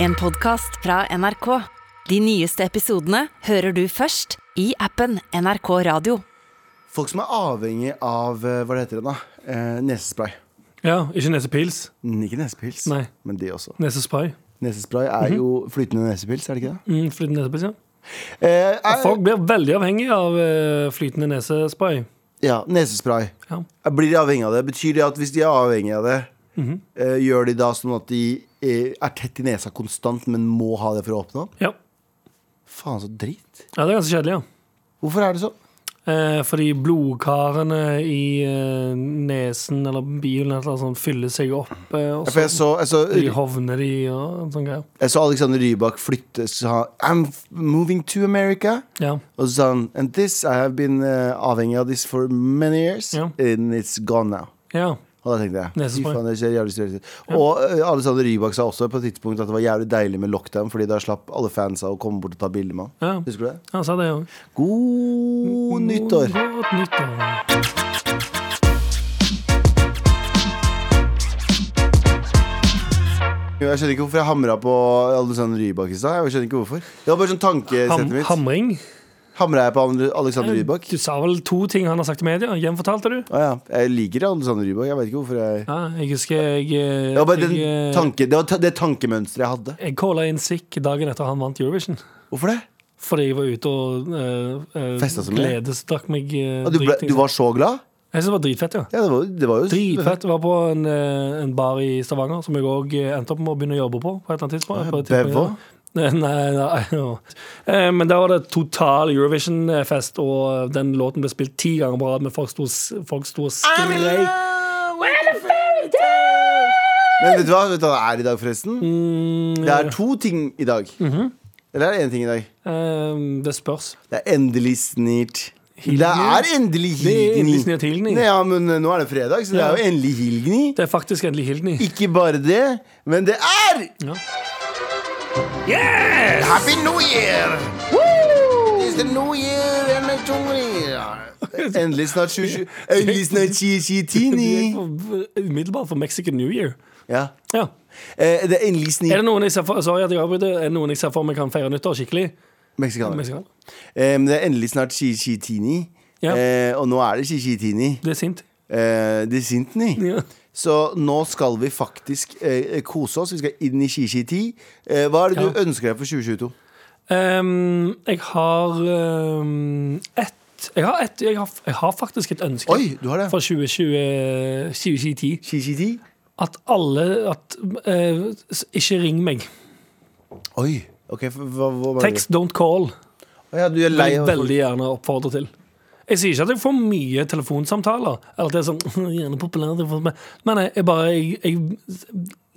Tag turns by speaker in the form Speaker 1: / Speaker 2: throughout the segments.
Speaker 1: En podcast fra NRK. De nyeste episodene hører du først i appen NRK Radio.
Speaker 2: Folk som er avhengig av eh, hva det heter det da? Eh, nesespray.
Speaker 3: Ja, ikke nesepils.
Speaker 2: Mm, Ikke nesepils,
Speaker 3: Nei.
Speaker 2: men det også.
Speaker 3: Nesespray.
Speaker 2: Nesespray er jo flytende nesepils, er det ikke det?
Speaker 3: Mm, flytende nesepils, ja.
Speaker 2: Eh, er,
Speaker 3: Folk blir veldig avhengig av eh, flytende nesespray.
Speaker 2: ja, nesespray.
Speaker 3: Ja.
Speaker 2: Blir de avhengig av det? Betyr det at hvis de er avhengig av det,
Speaker 3: mhm.
Speaker 2: eh, gjør de da sånn at de eh, er tett i nesa konstant, men må ha det for å åpne opp?
Speaker 3: ja.
Speaker 2: Faen, så drit.
Speaker 3: Ja, det er ganske kjedelig, ja.
Speaker 2: Hvorfor er det sånn?
Speaker 3: Eh, fordi blodkarene i eh, nesen eller bilen eller noe sånt fyller seg opp, eh, og
Speaker 2: Ja, For
Speaker 3: så
Speaker 2: jeg så, jeg
Speaker 3: de
Speaker 2: så,
Speaker 3: hovner de og sånne greier.
Speaker 2: jeg så Alexander Rybak flytte sa, I'm f- moving to America.
Speaker 3: Ja.
Speaker 2: Og så sa han And this, I have been eh, avhengig av this for many years,
Speaker 3: Ja.
Speaker 2: and it's gone now.
Speaker 3: ja.
Speaker 2: Og da tenkte jeg, fy
Speaker 3: Nesespray.
Speaker 2: faen, det skjer jævlig større. Og eh, Alexander Rybak sa også på et tidspunkt at det var jævlig deilig med lockdown, fordi da slapp alle fansa å komme bort og ta bilde med han.
Speaker 3: Ja,
Speaker 2: Husker du det?
Speaker 3: han sa det òg. Mm.
Speaker 2: God nyttår!
Speaker 3: Godt nyttår.
Speaker 2: Jo, Jeg skjønner ikke hvorfor jeg hamra på Alexander Rybak i stad. Jeg skjønner ikke hvorfor. Det var bare sånn tankesettet
Speaker 3: Ham,
Speaker 2: mitt.
Speaker 3: hamring.
Speaker 2: Hamra jeg på Andre- Alexander Rybak?
Speaker 3: Du sa vel to ting han har sagt i media? Gjenfortalte du?
Speaker 2: Å ja. Jeg liker Alexander Rybak. Jeg vet ikke hvorfor jeg
Speaker 3: Ja, jeg husker jeg eh,
Speaker 2: Det var bare
Speaker 3: jeg,
Speaker 2: den
Speaker 3: eh,
Speaker 2: tanke, det, var ta- det tankemønsteret jeg hadde.
Speaker 3: Jeg calla inn sick dagen etter han vant Eurovision.
Speaker 2: Hvorfor det?
Speaker 3: Fordi jeg var ute og uh,
Speaker 2: Festa så mye?
Speaker 3: gledesdrakk meg. eh,
Speaker 2: Og du, ble,
Speaker 3: dritings.
Speaker 2: du var så glad?
Speaker 3: Jeg synes det var dritfett, ja.
Speaker 2: Ja, det var, det var jo
Speaker 3: Dritfett. Jeg var på en, eh, en bar i Stavanger som jeg òg endte opp med å begynne å jobbe på. på et eller annet tidspunkt. På et tidspunkt,
Speaker 2: Bevo?
Speaker 3: ja. Eh, Nei, nei, ja. Eh, Men der var det total Eurovision-fest, og eh, den låten ble spilt ti ganger på rad, men folk sto s- folk sto og skrek.
Speaker 2: Men vet du hva vet du hva det er i dag, forresten?
Speaker 3: Mm,
Speaker 2: Det er to ting i dag.
Speaker 3: Mhm.
Speaker 2: Eller er det én ting i dag?
Speaker 3: Eh, Det spørs.
Speaker 2: Det er endelig snirt. Det er endelig
Speaker 3: Det er endelig
Speaker 2: hilgni.
Speaker 3: snitt Hilgni.
Speaker 2: Nei, ja, men eh, nå er det fredag, så det
Speaker 3: Ja.
Speaker 2: er jo endelig hilgni.
Speaker 3: Det er faktisk endelig Hildni.
Speaker 2: Ikke bare det, men det er
Speaker 3: Ja.
Speaker 2: Happy New Year! It's the new year and the new year. Endelig snart 2020. Endelig snart 2029.
Speaker 3: eh, Umiddelbart for Mexican New Year.
Speaker 2: Ja.
Speaker 3: Ja.
Speaker 2: Eh, Det er endelig
Speaker 3: Er det
Speaker 2: snirt.
Speaker 3: noen jeg ser for Sorry at jeg avbryter. Er det noen jeg ser for meg kan feire nyttår skikkelig?
Speaker 2: Meksikaner.
Speaker 3: Mexican.
Speaker 2: Eh, Men det er endelig snart 2029.
Speaker 3: Ja.
Speaker 2: Eh, Og nå er det 2029.
Speaker 3: Det er sint.
Speaker 2: Eh, de sintene.
Speaker 3: Ja.
Speaker 2: Så nå skal vi faktisk eh, kose oss. Vi skal inn i Shishi 10. Eh, hva er det du ønsker deg for 2022?
Speaker 3: Ehm, jeg har um, ett jeg har, ett, jeg, har, jeg har faktisk et ønske
Speaker 2: Oi, du har det.
Speaker 3: for 2020, 2010.
Speaker 2: Shishi 10?
Speaker 3: At alle at, eh, s- Ikke ring meg.
Speaker 2: Oi. Ok, f- hva, hva var det?
Speaker 3: Text don't call.
Speaker 2: Å Ja, du er
Speaker 3: Det
Speaker 2: lei
Speaker 3: vil jeg
Speaker 2: av
Speaker 3: veldig gjerne oppfordre til. Jeg sier ikke at jeg får mye telefonsamtaler. Eller at det er sånn gjerne populært jeg får med. Men jeg, jeg bare jeg, jeg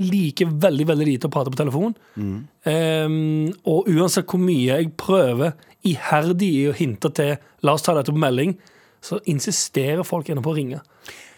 Speaker 3: liker veldig veldig lite å prate på telefon. Ehm, og uansett hvor mye jeg prøver iherdig i å hinte til La oss ta dette på melding, så insisterer folk gjerne på å ringe.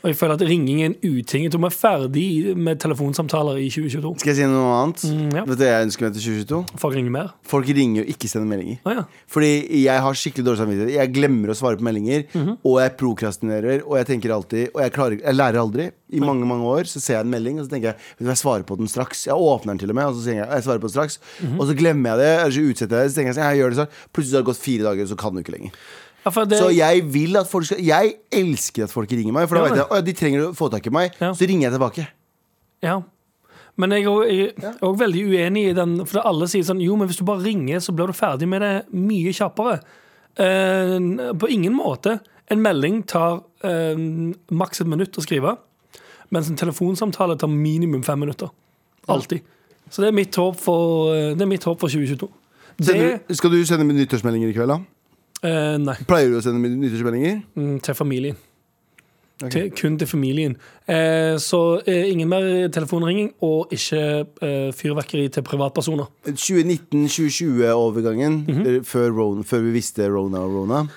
Speaker 3: Og jeg føler at ringing er en uting. Jeg tror vi er ferdig med telefonsamtaler i 2022.
Speaker 2: Skal jeg si noe annet?
Speaker 3: Mm, ja.
Speaker 2: Vet du hva jeg ønsker meg til 2022?
Speaker 3: Folk ringer mer.
Speaker 2: Folk ringer jo ikke sender meldinger.
Speaker 3: Å ja.
Speaker 2: Fordi jeg har skikkelig dårlig samvittighet. Jeg glemmer å svare på meldinger,
Speaker 3: Mhm.
Speaker 2: og jeg prokrastinerer, og jeg tenker alltid Og jeg, klarer, jeg lærer aldri. I mange mange år så ser jeg en melding, og så tenker jeg Vet du hva, jeg svarer på den straks. Jeg åpner den til og med, og så sier jeg jeg svarer på den straks.
Speaker 3: Mhm.
Speaker 2: Og så glemmer jeg det, eller så utsetter jeg det, så tenker jeg sånn, jeg gjør det sånn. Plutselig har det gått fire dager, og så kan du ikke lenger.
Speaker 3: Ja, for det,
Speaker 2: Så jeg vil at folk skal Jeg elsker at folk ringer meg, for da
Speaker 3: Ja.
Speaker 2: vet jeg at de trenger å få tak i meg.
Speaker 3: Ja.
Speaker 2: Så ringer jeg tilbake.
Speaker 3: Ja. Men jeg er også- jeg er òg veldig uenig i den, for alle sier sånn Jo, men hvis du bare ringer, så blir du ferdig med det mye kjappere. Eh, på ingen måte. En melding tar eh, maks et minutt å skrive, mens en telefonsamtale tar minimum fem minutter. Alltid. Så det er mitt håp for, eh, det er mitt håp for 2022.
Speaker 2: Sender,
Speaker 3: Det
Speaker 2: du- skal du sende nyttårsmeldinger i kveld, da?
Speaker 3: eh, Nei.
Speaker 2: Pleier du å sende nyttårsmeldinger?
Speaker 3: Mm, Til familien.
Speaker 2: Ok.
Speaker 3: Til, kun til familien. Eh, så eh, ingen mer telefonringing, og ikke eh, fyrverkeri til privatpersoner.
Speaker 2: 2019-2020-overgangen,
Speaker 3: Mhm.
Speaker 2: eh, før, Rona- før vi visste Rona og Rona.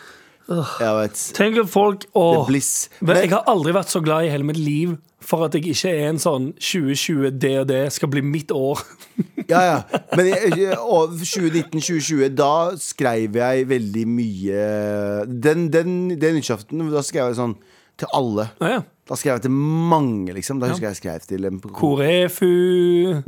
Speaker 2: Jeg vet.
Speaker 3: Tenk at folk
Speaker 2: Det
Speaker 3: åh,
Speaker 2: er bliss.
Speaker 3: vel, Jeg
Speaker 2: Men,
Speaker 3: har aldri vært så glad i hele mitt liv for at jeg ikke er en sånn 2020, det og det skal bli mitt år.
Speaker 2: ja, ja. Men eh, jeg- og 2019-2020, da skrev jeg veldig mye Den, den, den nyttårsaften, da skrev jeg sånn til alle.
Speaker 3: Ja, ja.
Speaker 2: Da skrev jeg til mange, liksom. Da husker jeg jeg skrev til en
Speaker 3: Hvor er fu...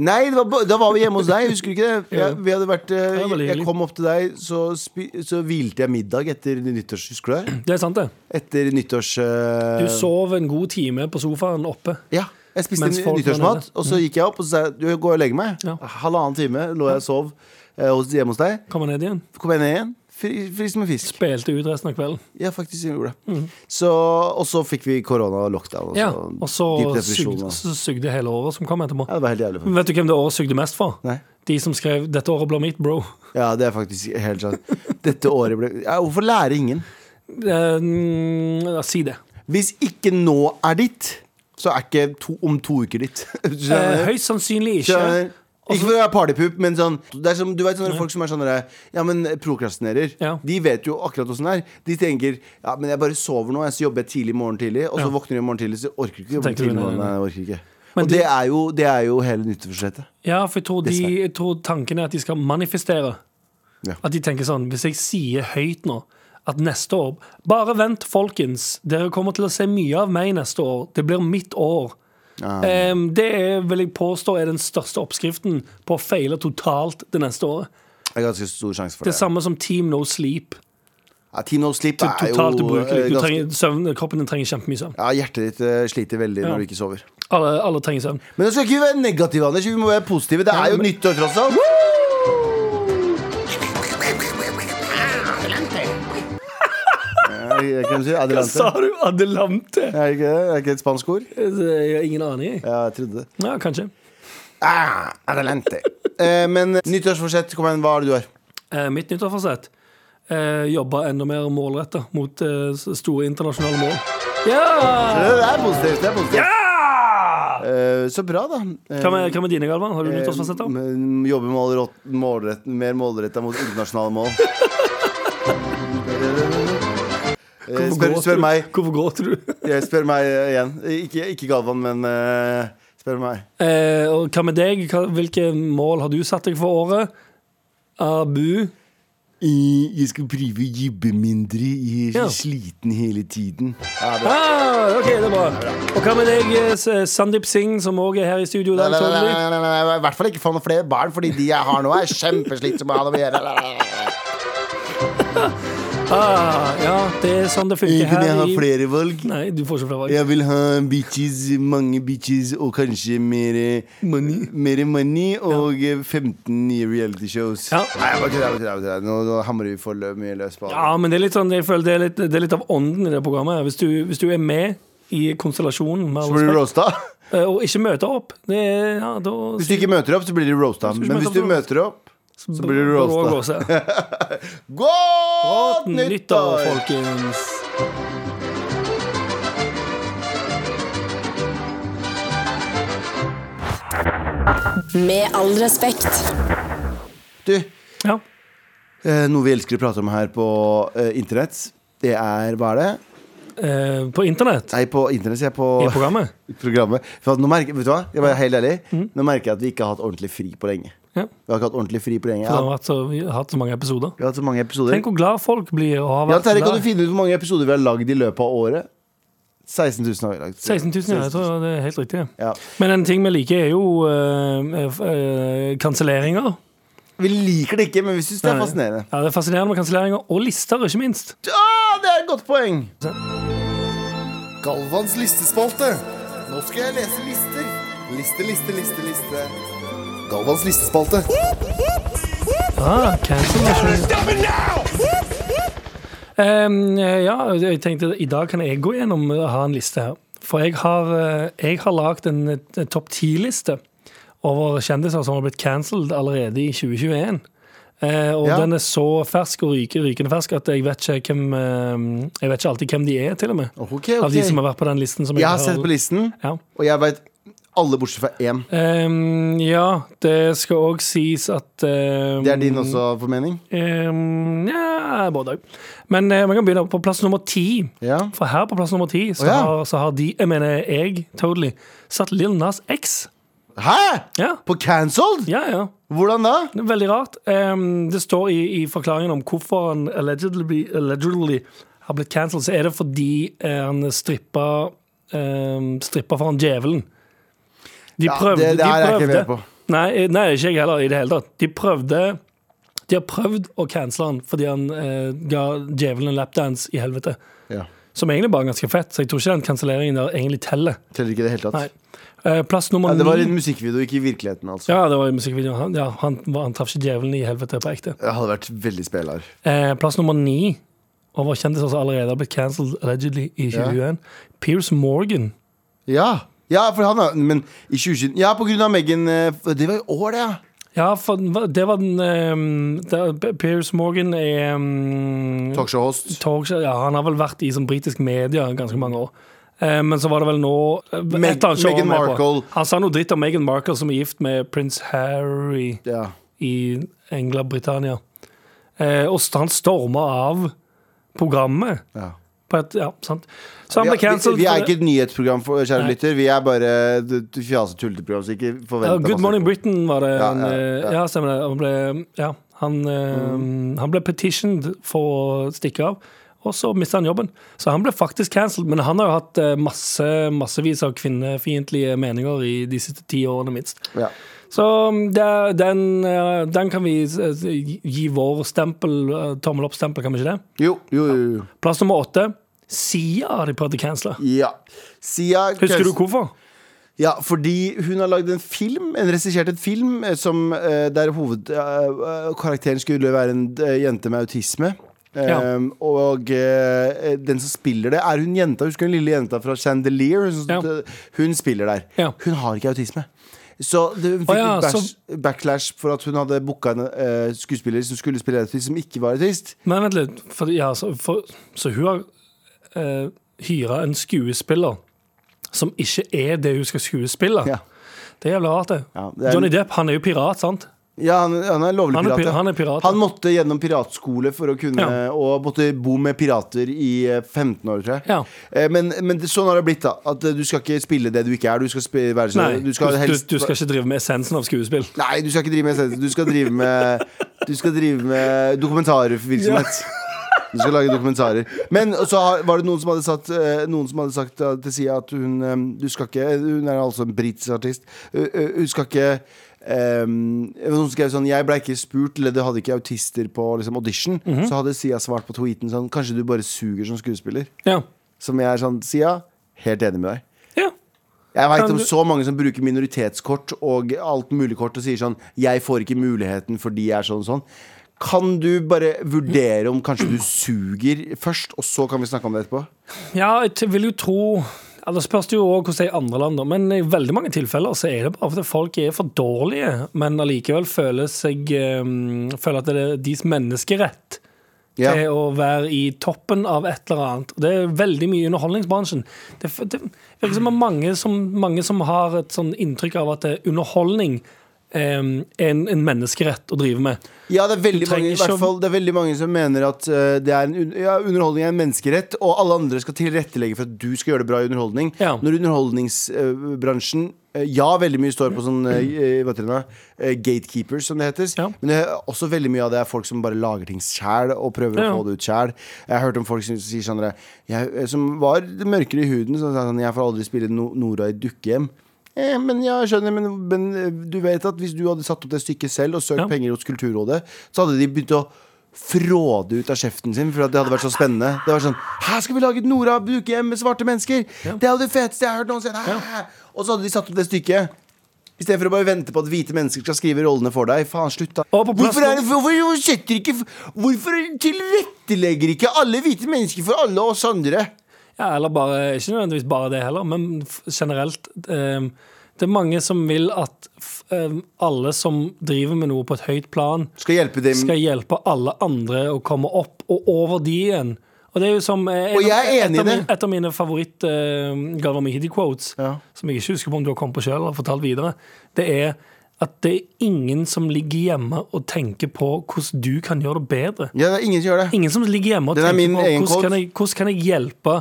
Speaker 2: Nei, det var, ba- da var vi hjemme hos deg. Husker du ikke det?
Speaker 3: Jo.
Speaker 2: Jeg, vi hadde vært, eh,
Speaker 3: det var veldig
Speaker 2: jeg
Speaker 3: hyggelig.
Speaker 2: kom opp til deg, så, spi, så hvilte jeg middag etter nyttårs. Husker du det?
Speaker 3: Det er sant, det.
Speaker 2: Etter nyttårs... eh,
Speaker 3: Du sov en god time på sofaen oppe.
Speaker 2: Ja, jeg spiste
Speaker 3: Mens
Speaker 2: en
Speaker 3: folk var
Speaker 2: nyttårsmat,
Speaker 3: nede.
Speaker 2: og så gikk jeg opp og så sa jeg, du jeg går og legger meg.
Speaker 3: Ja.
Speaker 2: Halvannen time lå jeg og sov eh, hos- hjemme hos deg.
Speaker 3: Kommer ned igjen.
Speaker 2: Så kom jeg ned igjen, fri- frisk med fisk.
Speaker 3: Spilte ut resten av kvelden.
Speaker 2: Ja, faktisk jeg gjorde det. Så, og så fikk vi korona og lockdown. Og så,
Speaker 3: Mhm. Ja, Og så
Speaker 2: dyp depresjon.
Speaker 3: sugde,
Speaker 2: og-
Speaker 3: så sugde hele året som kom etterpå.
Speaker 2: Ja, det var helt jævlig. for meg.
Speaker 3: Vet du hvem det året sugde mest for?
Speaker 2: Nei.
Speaker 3: De som skrev 'Dette året blir mitt, bro'.
Speaker 2: Ja, det er faktisk helt sant. Dette året ble ja, Hvorfor lære ingen?
Speaker 3: Eh, mm, si det.
Speaker 2: Hvis ikke nå er ditt, så er ikke to, om to uker ditt.
Speaker 3: Eh,
Speaker 2: Skjønner?
Speaker 3: høyst sannsynlig ikke.
Speaker 2: Skjønner? Ikke for å være partypup, men sånn det er som, Du vet sånne folk som er sånn der, Ja, men prokrastinerer.
Speaker 3: Ja.
Speaker 2: De vet jo akkurat åssen det er. De tenker Ja, men jeg bare sover nå, jeg så jobber jeg tidlig i morgen tidlig, og så
Speaker 3: Ja.
Speaker 2: våkner jeg i morgen tidlig, så orker jeg ikke jobbe
Speaker 3: Tenker du
Speaker 2: tidlig i morgen.
Speaker 3: det,
Speaker 2: Nei,
Speaker 3: ja.
Speaker 2: jeg orker ikke.
Speaker 3: Men
Speaker 2: og
Speaker 3: de-
Speaker 2: det, er jo, det er jo hele nyttårsforsettet.
Speaker 3: Ja, for jeg tror, de,
Speaker 2: Dessverre.
Speaker 3: jeg tror tanken er at de skal manifestere.
Speaker 2: Ja.
Speaker 3: At de tenker sånn Hvis jeg sier høyt nå at neste år Bare vent, folkens. Dere kommer til å se mye av meg neste år. Det blir mitt år.
Speaker 2: Ja.
Speaker 3: Em, det er, vil jeg påstå er den største oppskriften på å feile totalt det neste året.
Speaker 2: Det er ganske stor sjanse for
Speaker 3: Det
Speaker 2: det.
Speaker 3: samme som Team No Sleep.
Speaker 2: Ja, Team No Sleep
Speaker 3: Det
Speaker 2: er
Speaker 3: er
Speaker 2: jo
Speaker 3: Totalt ubrukelig.
Speaker 2: eh,
Speaker 3: Du
Speaker 2: ganske-
Speaker 3: trenger, søvn, kroppen din trenger kjempemye søvn.
Speaker 2: Ja, hjertet ditt eh, sliter veldig
Speaker 3: Ja.
Speaker 2: når du ikke sover.
Speaker 3: Alle, alle trenger søvn.
Speaker 2: Men nå skal ikke vi være negative, Anders. Vi må være positive. Det er jo
Speaker 3: men-
Speaker 2: nyttår, tross alt. Jeg kan si
Speaker 3: Hva
Speaker 2: Adelante.
Speaker 3: sa du? Adelante? Eh,
Speaker 2: Er det ikke, det? er det ikke et spansk ord?
Speaker 3: Jeg har ingen aning, jeg.
Speaker 2: Ja, jeg trodde det.
Speaker 3: Ja, kanskje.
Speaker 2: Ah, Adelante. Eh, men nyttårsforsett, kom igjen, hva er det du har?
Speaker 3: Eh, mitt nyttårsforsett eh, jobbe enda mer målretta mot eh, s- store internasjonale mål. Ja!
Speaker 2: Det er positivt. det er positivt
Speaker 3: Ja!
Speaker 2: Eh, Så bra, da. Eh,
Speaker 3: Hva med, hva med dine, Galvan? Har du nyttårsforsetter?
Speaker 2: Men Jobbe målrett, målrett, mer målretta mot internasjonale mål. Eh, Spør,
Speaker 3: Hvorfor
Speaker 2: spør
Speaker 3: gråter
Speaker 2: meg.
Speaker 3: du? Hvorfor gråter du?
Speaker 2: Jeg spør meg eh, igjen. Ikke, ikke Galvan, men eh, spør meg.
Speaker 3: Eh, og hva med deg? Hva, hvilke mål har du satt deg for året? Abu?
Speaker 2: Jeg skal prøve å jobbe mindre. Jeg
Speaker 3: Ja.
Speaker 2: sliten hele tiden. Ja, det
Speaker 3: Ah, OK, det er bra. Og hva med deg, eh, s- Sandeep Singh, som òg er her i studio? i
Speaker 2: Nei,
Speaker 3: dag,
Speaker 2: nei, nei,
Speaker 3: Tony?
Speaker 2: nei, nei, nei, nei, I hvert fall ikke få noen flere barn, fordi de jeg har nå, er kjempeslitsomme. å ha noe å gjøre.
Speaker 3: Ah, ja, det er sånn det funker
Speaker 2: Eh, Kunne jeg
Speaker 3: her.
Speaker 2: ha
Speaker 3: I...
Speaker 2: flere valg?
Speaker 3: Nei, du får ikke flere valg.
Speaker 2: Jeg vil ha bitches, mange bitches, og kanskje mer money, mer money og eh, 15 nye reality shows.
Speaker 3: Ja.
Speaker 2: Nei, jeg bare kødder, jeg bare kødder, jeg bare kødder. Nå, nå hamrer vi for lø- mye løs på
Speaker 3: Ja, men det er litt sånn, jeg føler det er litt, det er litt av ånden i det programmet. her. Hvis du, hvis du er med i konstellasjonen med all
Speaker 2: Så blir du
Speaker 3: respekt,
Speaker 2: roasta.
Speaker 3: eh, og ikke møter opp, det er, ja, da
Speaker 2: Hvis du ikke møter opp, så blir du roasta.
Speaker 3: du ikke
Speaker 2: Men
Speaker 3: møte
Speaker 2: hvis du
Speaker 3: opp, så-
Speaker 2: møter opp, så blir du roasta.
Speaker 3: roasta.
Speaker 2: Godt
Speaker 3: Nyttår,
Speaker 2: nyttår!
Speaker 3: folkens.
Speaker 4: Med all respekt.
Speaker 2: Du,
Speaker 3: Ja.
Speaker 2: eh, noe vi elsker å prate om her på eh, internett, det er Hva er det?
Speaker 3: Eh, på internett.
Speaker 2: Nei, på internett, sier jeg. På
Speaker 3: I programmet.
Speaker 2: programmet. For at nå merker, vet du hva? Jeg er helt ærlig. Nå merker jeg at vi ikke har hatt ordentlig fri på lenge.
Speaker 3: Ja.
Speaker 2: Vi har ikke hatt ordentlig fri på lenge.
Speaker 3: For det
Speaker 2: Ja,
Speaker 3: har vært så, vi har hatt så mange episoder.
Speaker 2: vi har hatt så mange episoder.
Speaker 3: Tenk hvor glad folk blir og har
Speaker 2: Ja,
Speaker 3: vært
Speaker 2: Terje, kan
Speaker 3: glad.
Speaker 2: du finne ut hvor mange episoder vi har lagd i løpet av året? 16 000 har vi lagd.
Speaker 3: 16 000, ja. Jeg tror det er helt riktig. det.
Speaker 2: Ja.
Speaker 3: Men en ting vi liker, er jo eh, eh, eh, kanselleringer.
Speaker 2: Vi liker det ikke, men vi syns det er fascinerende.
Speaker 3: Ja, det er fascinerende med kanselleringer. Og lister, ikke minst.
Speaker 2: Ah, det er et godt poeng! Galvans listespalte. Nå skal jeg lese lister. Liste, liste, liste, liste. Galvans listespalte.
Speaker 3: Ah, cancel Um, ja, jeg tenkte i dag kan jeg gå gjennom og ha en liste her. For jeg har, eh, jeg har lagd en, eh, topp ti-liste over kjendiser som har blitt cancelled allerede i 2021. Eh, og
Speaker 2: Ja.
Speaker 3: den er så fersk og ryke, rykende fersk at jeg vet, ikke hvem, eh, jeg vet ikke alltid hvem de er, til og med.
Speaker 2: Ok,
Speaker 3: Av
Speaker 2: ok.
Speaker 3: de som har vært på den listen. Som
Speaker 2: Jeg har sett på listen,
Speaker 3: Ja.
Speaker 2: og jeg veit alle bortsett fra én.
Speaker 3: Ehm, ja, det skal òg sies at ehm,
Speaker 2: Det er din også formening?
Speaker 3: Ehm, ja, både òg. Men eh, man kan begynne på plass nummer ti.
Speaker 2: Ja.
Speaker 3: For her på plass nummer ti så,
Speaker 2: Å, ja.
Speaker 3: har, så har de, jeg mener jeg, totally, satt Lil Nas X.
Speaker 2: Hæ?
Speaker 3: Ja,
Speaker 2: På cancelled?
Speaker 3: ja. ja.
Speaker 2: Hvordan da?
Speaker 3: Det er veldig rart. Ehm, det står i, i forklaringen om hvorfor han allegedly, allegedly har blitt cancelled, så er det fordi eh, han strippa eh, Strippa foran djevelen. De
Speaker 2: Ja,
Speaker 3: prøvde.
Speaker 2: det- det
Speaker 3: de
Speaker 2: her er jeg
Speaker 3: prøvde.
Speaker 2: ikke med på.
Speaker 3: Nei, eh, nei, ikke jeg heller, i det hele tatt. De prøvde De har prøvd å cancele han fordi han eh, ga djevelen en lapdance i helvete.
Speaker 2: Ja.
Speaker 3: Som egentlig bare er ganske fett, så jeg tror ikke den kanselleringen der egentlig teller.
Speaker 2: Teller ikke i det hele tatt.
Speaker 3: Nei. Eh, plass nummer
Speaker 2: Ja,
Speaker 3: ni
Speaker 2: det var en musikkvideo, ikke i virkeligheten, altså.
Speaker 3: Ja, det var i musikkvideoen. Han, ja, han, han traff ikke djevelen i helvete på ekte.
Speaker 2: Jeg hadde vært veldig spelar.
Speaker 3: Eh, plass nummer ni over kjendiser som allerede har blitt cancelled allegedly i 2021. Piers Morgan.
Speaker 2: Ja. ja, for han har Men i 2020 Ja, på grunn av Megan eh, Det var i år, det, ja.
Speaker 3: Ja, for den var- det var den ehm, det, Piers Morgan er ehm,
Speaker 2: Talkshow-host.
Speaker 3: talkshow- Ja, han har vel vært i sånn britisk media i ganske mange år. Eh, Men så var det vel nå eh, et eller annet show han
Speaker 2: Meghan
Speaker 3: var med på.
Speaker 2: Markle.
Speaker 3: Han sa noe dritt om Meghan Markle, som er gift med prins Harry
Speaker 2: Ja.
Speaker 3: i England-Britannia. Eh, og st- han storma av programmet.
Speaker 2: ja.
Speaker 3: På et, ja, sant. Så
Speaker 2: Vi,
Speaker 3: han ble
Speaker 2: er- vi,
Speaker 3: cancelled.
Speaker 2: vi
Speaker 3: for
Speaker 2: er
Speaker 3: det.
Speaker 2: ikke et nyhetsprogram, for, kjære
Speaker 3: Nei.
Speaker 2: lytter. Vi er bare et fjasete tulleprogram, så ikke forvent
Speaker 3: Ja, Good Morning Britain var det.
Speaker 2: Ja,
Speaker 3: han,
Speaker 2: ja,
Speaker 3: eh,
Speaker 2: ja.
Speaker 3: ja, stemmer det. Han ble, ja, han, eh,
Speaker 2: Mm.
Speaker 3: han ble petitioned for å stikke av, og så mista han jobben. Så han ble faktisk cancelled. Men han har jo hatt eh, masse, massevis av kvinnefiendtlige meninger i de siste ti årene, minst.
Speaker 2: Ja.
Speaker 3: Så mm, det, er- den, eh, den kan vi eh, gi- gi vår stempel, eh, tommel opp-stempel, kan vi ikke det?
Speaker 2: Jo, jo, jo. jo.
Speaker 3: Plass nummer åtte. Sia har de prøvd å cancele.
Speaker 2: Ja. Sia
Speaker 3: Husker du hvorfor?
Speaker 2: Ja, fordi hun har lagd en film, en regissert en film, eh, som, eh, der hovedkarakteren skulle være en eh, jente med autisme.
Speaker 3: Ja.
Speaker 2: Eh, og eh, den som spiller det, er hun jenta. Husker du den lille jenta fra Chandelier? Hun, som-
Speaker 3: Ja.
Speaker 2: hun spiller der.
Speaker 3: Ja.
Speaker 2: Hun har ikke autisme. Så det, hun fikk
Speaker 3: Å ja,
Speaker 2: litt bash,
Speaker 3: så-
Speaker 2: backlash for at hun hadde booka en eh, skuespiller som skulle spille autist, som ikke var autist.
Speaker 3: Men vent litt, for, ja, så, for, så hun har eh, hyra en skuespiller som ikke er det hun skal skuespille.
Speaker 2: Ja.
Speaker 3: Det er jævlig rart, det.
Speaker 2: Ja, det er-
Speaker 3: Johnny Depp han er jo pirat, sant?
Speaker 2: Ja, han, han er lovlig
Speaker 3: Han er
Speaker 2: pirat.
Speaker 3: pi-
Speaker 2: ja.
Speaker 3: han er pirat, ja.
Speaker 2: han måtte gjennom piratskole for å kunne
Speaker 3: Ja.
Speaker 2: Og måtte bo med pirater i eh, 15 år, tror jeg.
Speaker 3: Ja.
Speaker 2: Eh, Men, men det- sånn har det blitt, da. At eh, du skal ikke spille det du ikke er. Du skal spi- være så,
Speaker 3: Nei, du,
Speaker 2: du skal helst
Speaker 3: du, du skal ikke drive med essensen av skuespill.
Speaker 2: Nei, du skal ikke drive med essensen. Du skal drive med Du skal drive med dokumentarvirksomhet. Du skal lage dokumentarer. Men så har- var det noen som hadde, satt, eh, noen som hadde sagt eh, til Sia at hun eh, Du skal ikke Hun er altså en britisk artist. Eh, eh, Hun skal ikke eh, Noen skrev sånn Jeg ble ikke spurt, eller det hadde ikke autister på liksom, audition. Så hadde Sia svart på tweeten sånn Kanskje du bare suger som skuespiller?
Speaker 3: Ja.
Speaker 2: Som jeg er sånn Sia, helt enig med deg.
Speaker 3: ja.
Speaker 2: Jeg veit
Speaker 3: Kan
Speaker 2: om
Speaker 3: du-
Speaker 2: så mange som bruker minoritetskort og alt mulig kort og sier sånn 'Jeg får ikke muligheten fordi jeg er sånn og sånn'. Kan du bare vurdere om kanskje du suger først, og så kan vi snakke om det etterpå?
Speaker 3: ja, jeg t- vil jo tro ja, Det spørs det jo også hvordan det er i andre land, da. men i veldig mange tilfeller så er det bare fordi folk er for dårlige, men allikevel føler, seg, eh, føler at det er deres menneskerett
Speaker 2: Ja.
Speaker 3: til å være i toppen av et eller annet. Og Det er veldig mye i underholdningsbransjen. Det, f- det virker som om mange som, mange som har et sånn inntrykk av at eh, underholdning eh, er en, en menneskerett å drive med.
Speaker 2: ja, det er veldig
Speaker 3: Du
Speaker 2: mange
Speaker 3: trenger
Speaker 2: i
Speaker 3: ikke
Speaker 2: hvert
Speaker 3: å-
Speaker 2: fall, Det er veldig mange som mener at eh, det er en, un- ja, underholdning er en menneskerett, og alle andre skal tilrettelegge for at du skal gjøre det bra i underholdning.
Speaker 3: Ja.
Speaker 2: Når underholdningsbransjen eh, ja, veldig mye står på sånn eh, hva heter det nå? Eh, gatekeepers, som det heter.
Speaker 3: Ja.
Speaker 2: Men det er også veldig mye av det er folk som bare lager ting sjæl og prøver
Speaker 3: Ja.
Speaker 2: å få det ut sjæl. Jeg har hørt om folk som sier sånn der, jeg, Som var mørkere i huden, som sa sånn Jeg får aldri spille no Nora i dukkehjem. Eh, men ja, jeg skjønner, men, men eh, du vet at hvis du hadde satt opp det stykket selv og søkt
Speaker 3: Ja.
Speaker 2: penger hos Kulturrådet, så hadde de begynt å fråde ut av kjeften sin for at det hadde vært så spennende. Det var sånn Her skal vi lage et Nora dukkehjem med svarte mennesker! Det er jo det feteste jeg har hørt noensinne! Hæ? Og så hadde de satt opp det stykket. I stedet for å bare vente på at hvite mennesker skal skrive rollene for deg. Faen, slutt da
Speaker 3: Og på plass
Speaker 2: Hvorfor, er det, hvorfor, hvorfor setter ikke Hvorfor tilrettelegger ikke alle hvite mennesker for alle oss andre?
Speaker 3: Ja, eller bare, ikke nødvendigvis bare det heller, men f- generelt. ehm, det er mange som vil at f- ehm, alle som driver med noe på et høyt plan,
Speaker 2: Skal hjelpe dem
Speaker 3: skal hjelpe alle andre å komme opp og over de igjen. Og det er jo som eh,
Speaker 2: Og jeg er
Speaker 3: et
Speaker 2: enig i
Speaker 3: av mine-
Speaker 2: det.
Speaker 3: Et av mine favoritt eh, Galvan Mehidi-quotes,
Speaker 2: Ja.
Speaker 3: som jeg ikke husker på om du har kommet på sjøl eller fortalt videre, det er at det er ingen som ligger hjemme og tenker på hvordan du kan gjøre det bedre.
Speaker 2: Ja, det er ingen som gjør det.
Speaker 3: Ingen som ligger hjemme og
Speaker 2: Den er min
Speaker 3: tenker på
Speaker 2: egen
Speaker 3: hvordan
Speaker 2: quote.
Speaker 3: kan, jeg, hvordan kan jeg hjelpe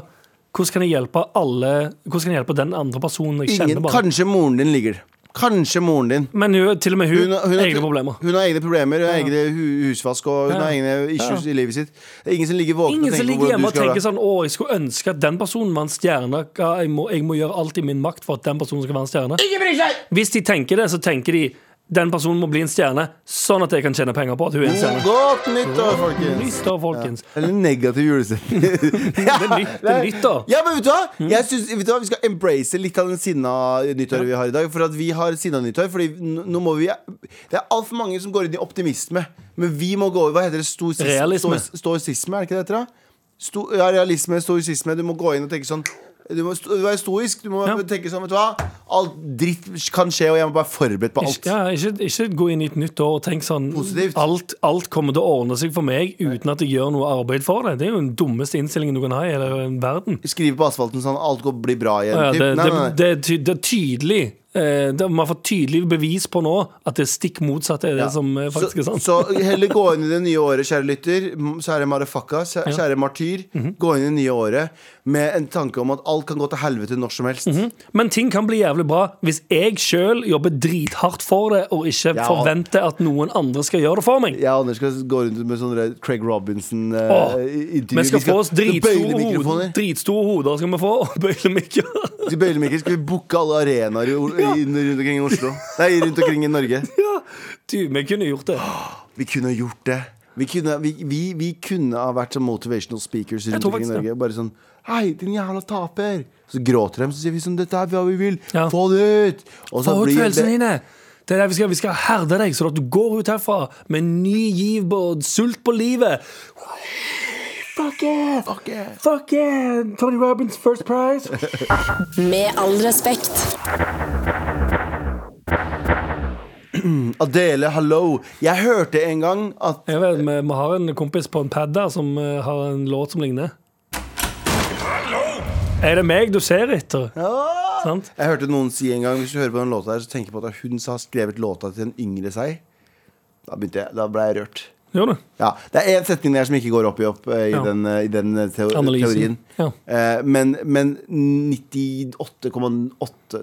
Speaker 3: Hvordan kan jeg hjelpe alle Hvordan kan jeg hjelpe den andre personen jeg
Speaker 2: Ingen,
Speaker 3: kjenner bare?
Speaker 2: kanskje moren din ligger Kanskje moren din.
Speaker 3: Men hun, til og med hun,
Speaker 2: Hun, har- hun, har-
Speaker 3: egne problemer.
Speaker 2: hun har egne problemer, hun har egne hu- husvask og hun
Speaker 3: Ja.
Speaker 2: har egne issues
Speaker 3: Ja.
Speaker 2: i livet sitt. Det er ingen som ligger våken og
Speaker 3: Ingen som
Speaker 2: tenker på
Speaker 3: ligger
Speaker 2: hvordan
Speaker 3: hjemme
Speaker 2: du
Speaker 3: og
Speaker 2: skal ha
Speaker 3: tenker
Speaker 2: det.
Speaker 3: sånn Å, jeg skulle ønske at den personen var en stjerne. Ja, Jeg må, jeg må gjøre alt i min makt for at den personen skal være en stjerne. Hvis de tenker det, så tenker de den personen må bli en stjerne, sånn at jeg kan tjene penger på at hun er en stjerne.
Speaker 2: Godt nyttår, folkens!
Speaker 3: Nytt da, folkens.
Speaker 2: Eller negativ julestemning.
Speaker 3: Det er nytt, det er nytt da. Mm.
Speaker 2: Ja, men vet du hva? Jeg synes, vet du hva? Vi skal embrace litt av den sinna nyttåret vi har i dag. For at vi har sinna nyttår. Fordi n- nå må vi Det er altfor mange som går inn i optimisme. Men vi må gå over Hva heter det? Stosis,
Speaker 3: Realisme.
Speaker 2: Stois, stoisisme, er det ikke det det heter? da? Sto, ja, realisme, stoisisme. Du må gå inn og tenke sånn du må sto- være stoisk. Du må
Speaker 3: Ja.
Speaker 2: tenke sånn, vet du hva? Alt dritt kan skje, og jeg må bare være forberedt på alt.
Speaker 3: Ikke, ja, ikke, ikke gå inn i et nytt år og tenk sånn
Speaker 2: Positivt.
Speaker 3: alt, alt kommer til å ordne seg for meg uten at jeg gjør noe arbeid for det. Det er jo den dummeste innstillingen du kan ha i hele verden.
Speaker 2: Skrive på asfalten sånn alt går, blir bra igjen.
Speaker 3: Ja,
Speaker 2: typ.
Speaker 3: det,
Speaker 2: Nei,
Speaker 3: det,
Speaker 2: nei, nei.
Speaker 3: det, er ty- det er tydelig. Eh, det, man får tydelig bevis på nå at det stikk motsatte er det
Speaker 2: Ja.
Speaker 3: som eh, faktisk er sant.
Speaker 2: Så, så heller gå inn i det nye året, kjære lytter, m- kjære marafakka, kjæ- kjære martyr.
Speaker 3: Mhm.
Speaker 2: Gå inn i det nye året med en tanke om at alt kan gå til helvete når som helst.
Speaker 3: Men ting kan bli jævlig bra hvis jeg sjøl jobber drithardt for det, og ikke
Speaker 2: Ja.
Speaker 3: forventer at noen andre skal gjøre det for meg.
Speaker 2: Jeg og Anders skal gå rundt med sånn der Craig eh,
Speaker 3: Åh,
Speaker 2: Robinson-intervju.
Speaker 3: Vi skal få oss
Speaker 2: bøyle
Speaker 3: dritstore hoder,
Speaker 2: mikrofoner.
Speaker 3: dritstore hoder skal vi få, og bøylemikrofoner.
Speaker 2: Til bøylemikrofoner skal vi booke alle arenaer i, O- i, rundt omkring i Oslo. Nei, rundt omkring i Norge.
Speaker 3: Ja, du, vi kunne gjort det.
Speaker 2: Vi kunne ha gjort det. Vi kunne, vi, vi, vi kunne ha vært som motivational speakers rundt
Speaker 3: tror
Speaker 2: omkring i
Speaker 3: faktisk
Speaker 2: Norge. Bare sånn Hei, din jævla taper! Så gråter de, så sier vi sånn Dette er hva vi vil!
Speaker 3: Ja.
Speaker 2: Få det ut! Og så
Speaker 3: Få ut
Speaker 2: blir det-
Speaker 3: følelsene dine. Det er der vi, skal, vi skal herde deg, sånn at du går ut herfra med en ny giv og sult på livet. Fuck yeah!
Speaker 2: Fuck yeah.
Speaker 3: Fuck yeah! Tony Robins first prize.
Speaker 4: Med all respekt.
Speaker 2: Adele, hallo! Jeg hørte en gang at
Speaker 3: Jeg vet, vi, vi har en kompis på en pad der som eh, har en låt som ligner. Er det meg du ser etter? Sant?
Speaker 2: Jeg hørte noen si en gang Hvis du hører på den låta her, så tenker jeg på at hun har skrevet låta til en yngre seg. Da begynte jeg, da ble jeg rørt.
Speaker 3: Gjør du?
Speaker 2: Ja, Det er én setning der som ikke går opp i opp eh, i,
Speaker 3: Ja.
Speaker 2: den, eh, i den eh, teo
Speaker 3: Analysen.
Speaker 2: teorien.
Speaker 3: Ja.
Speaker 2: Eh, men men 98,8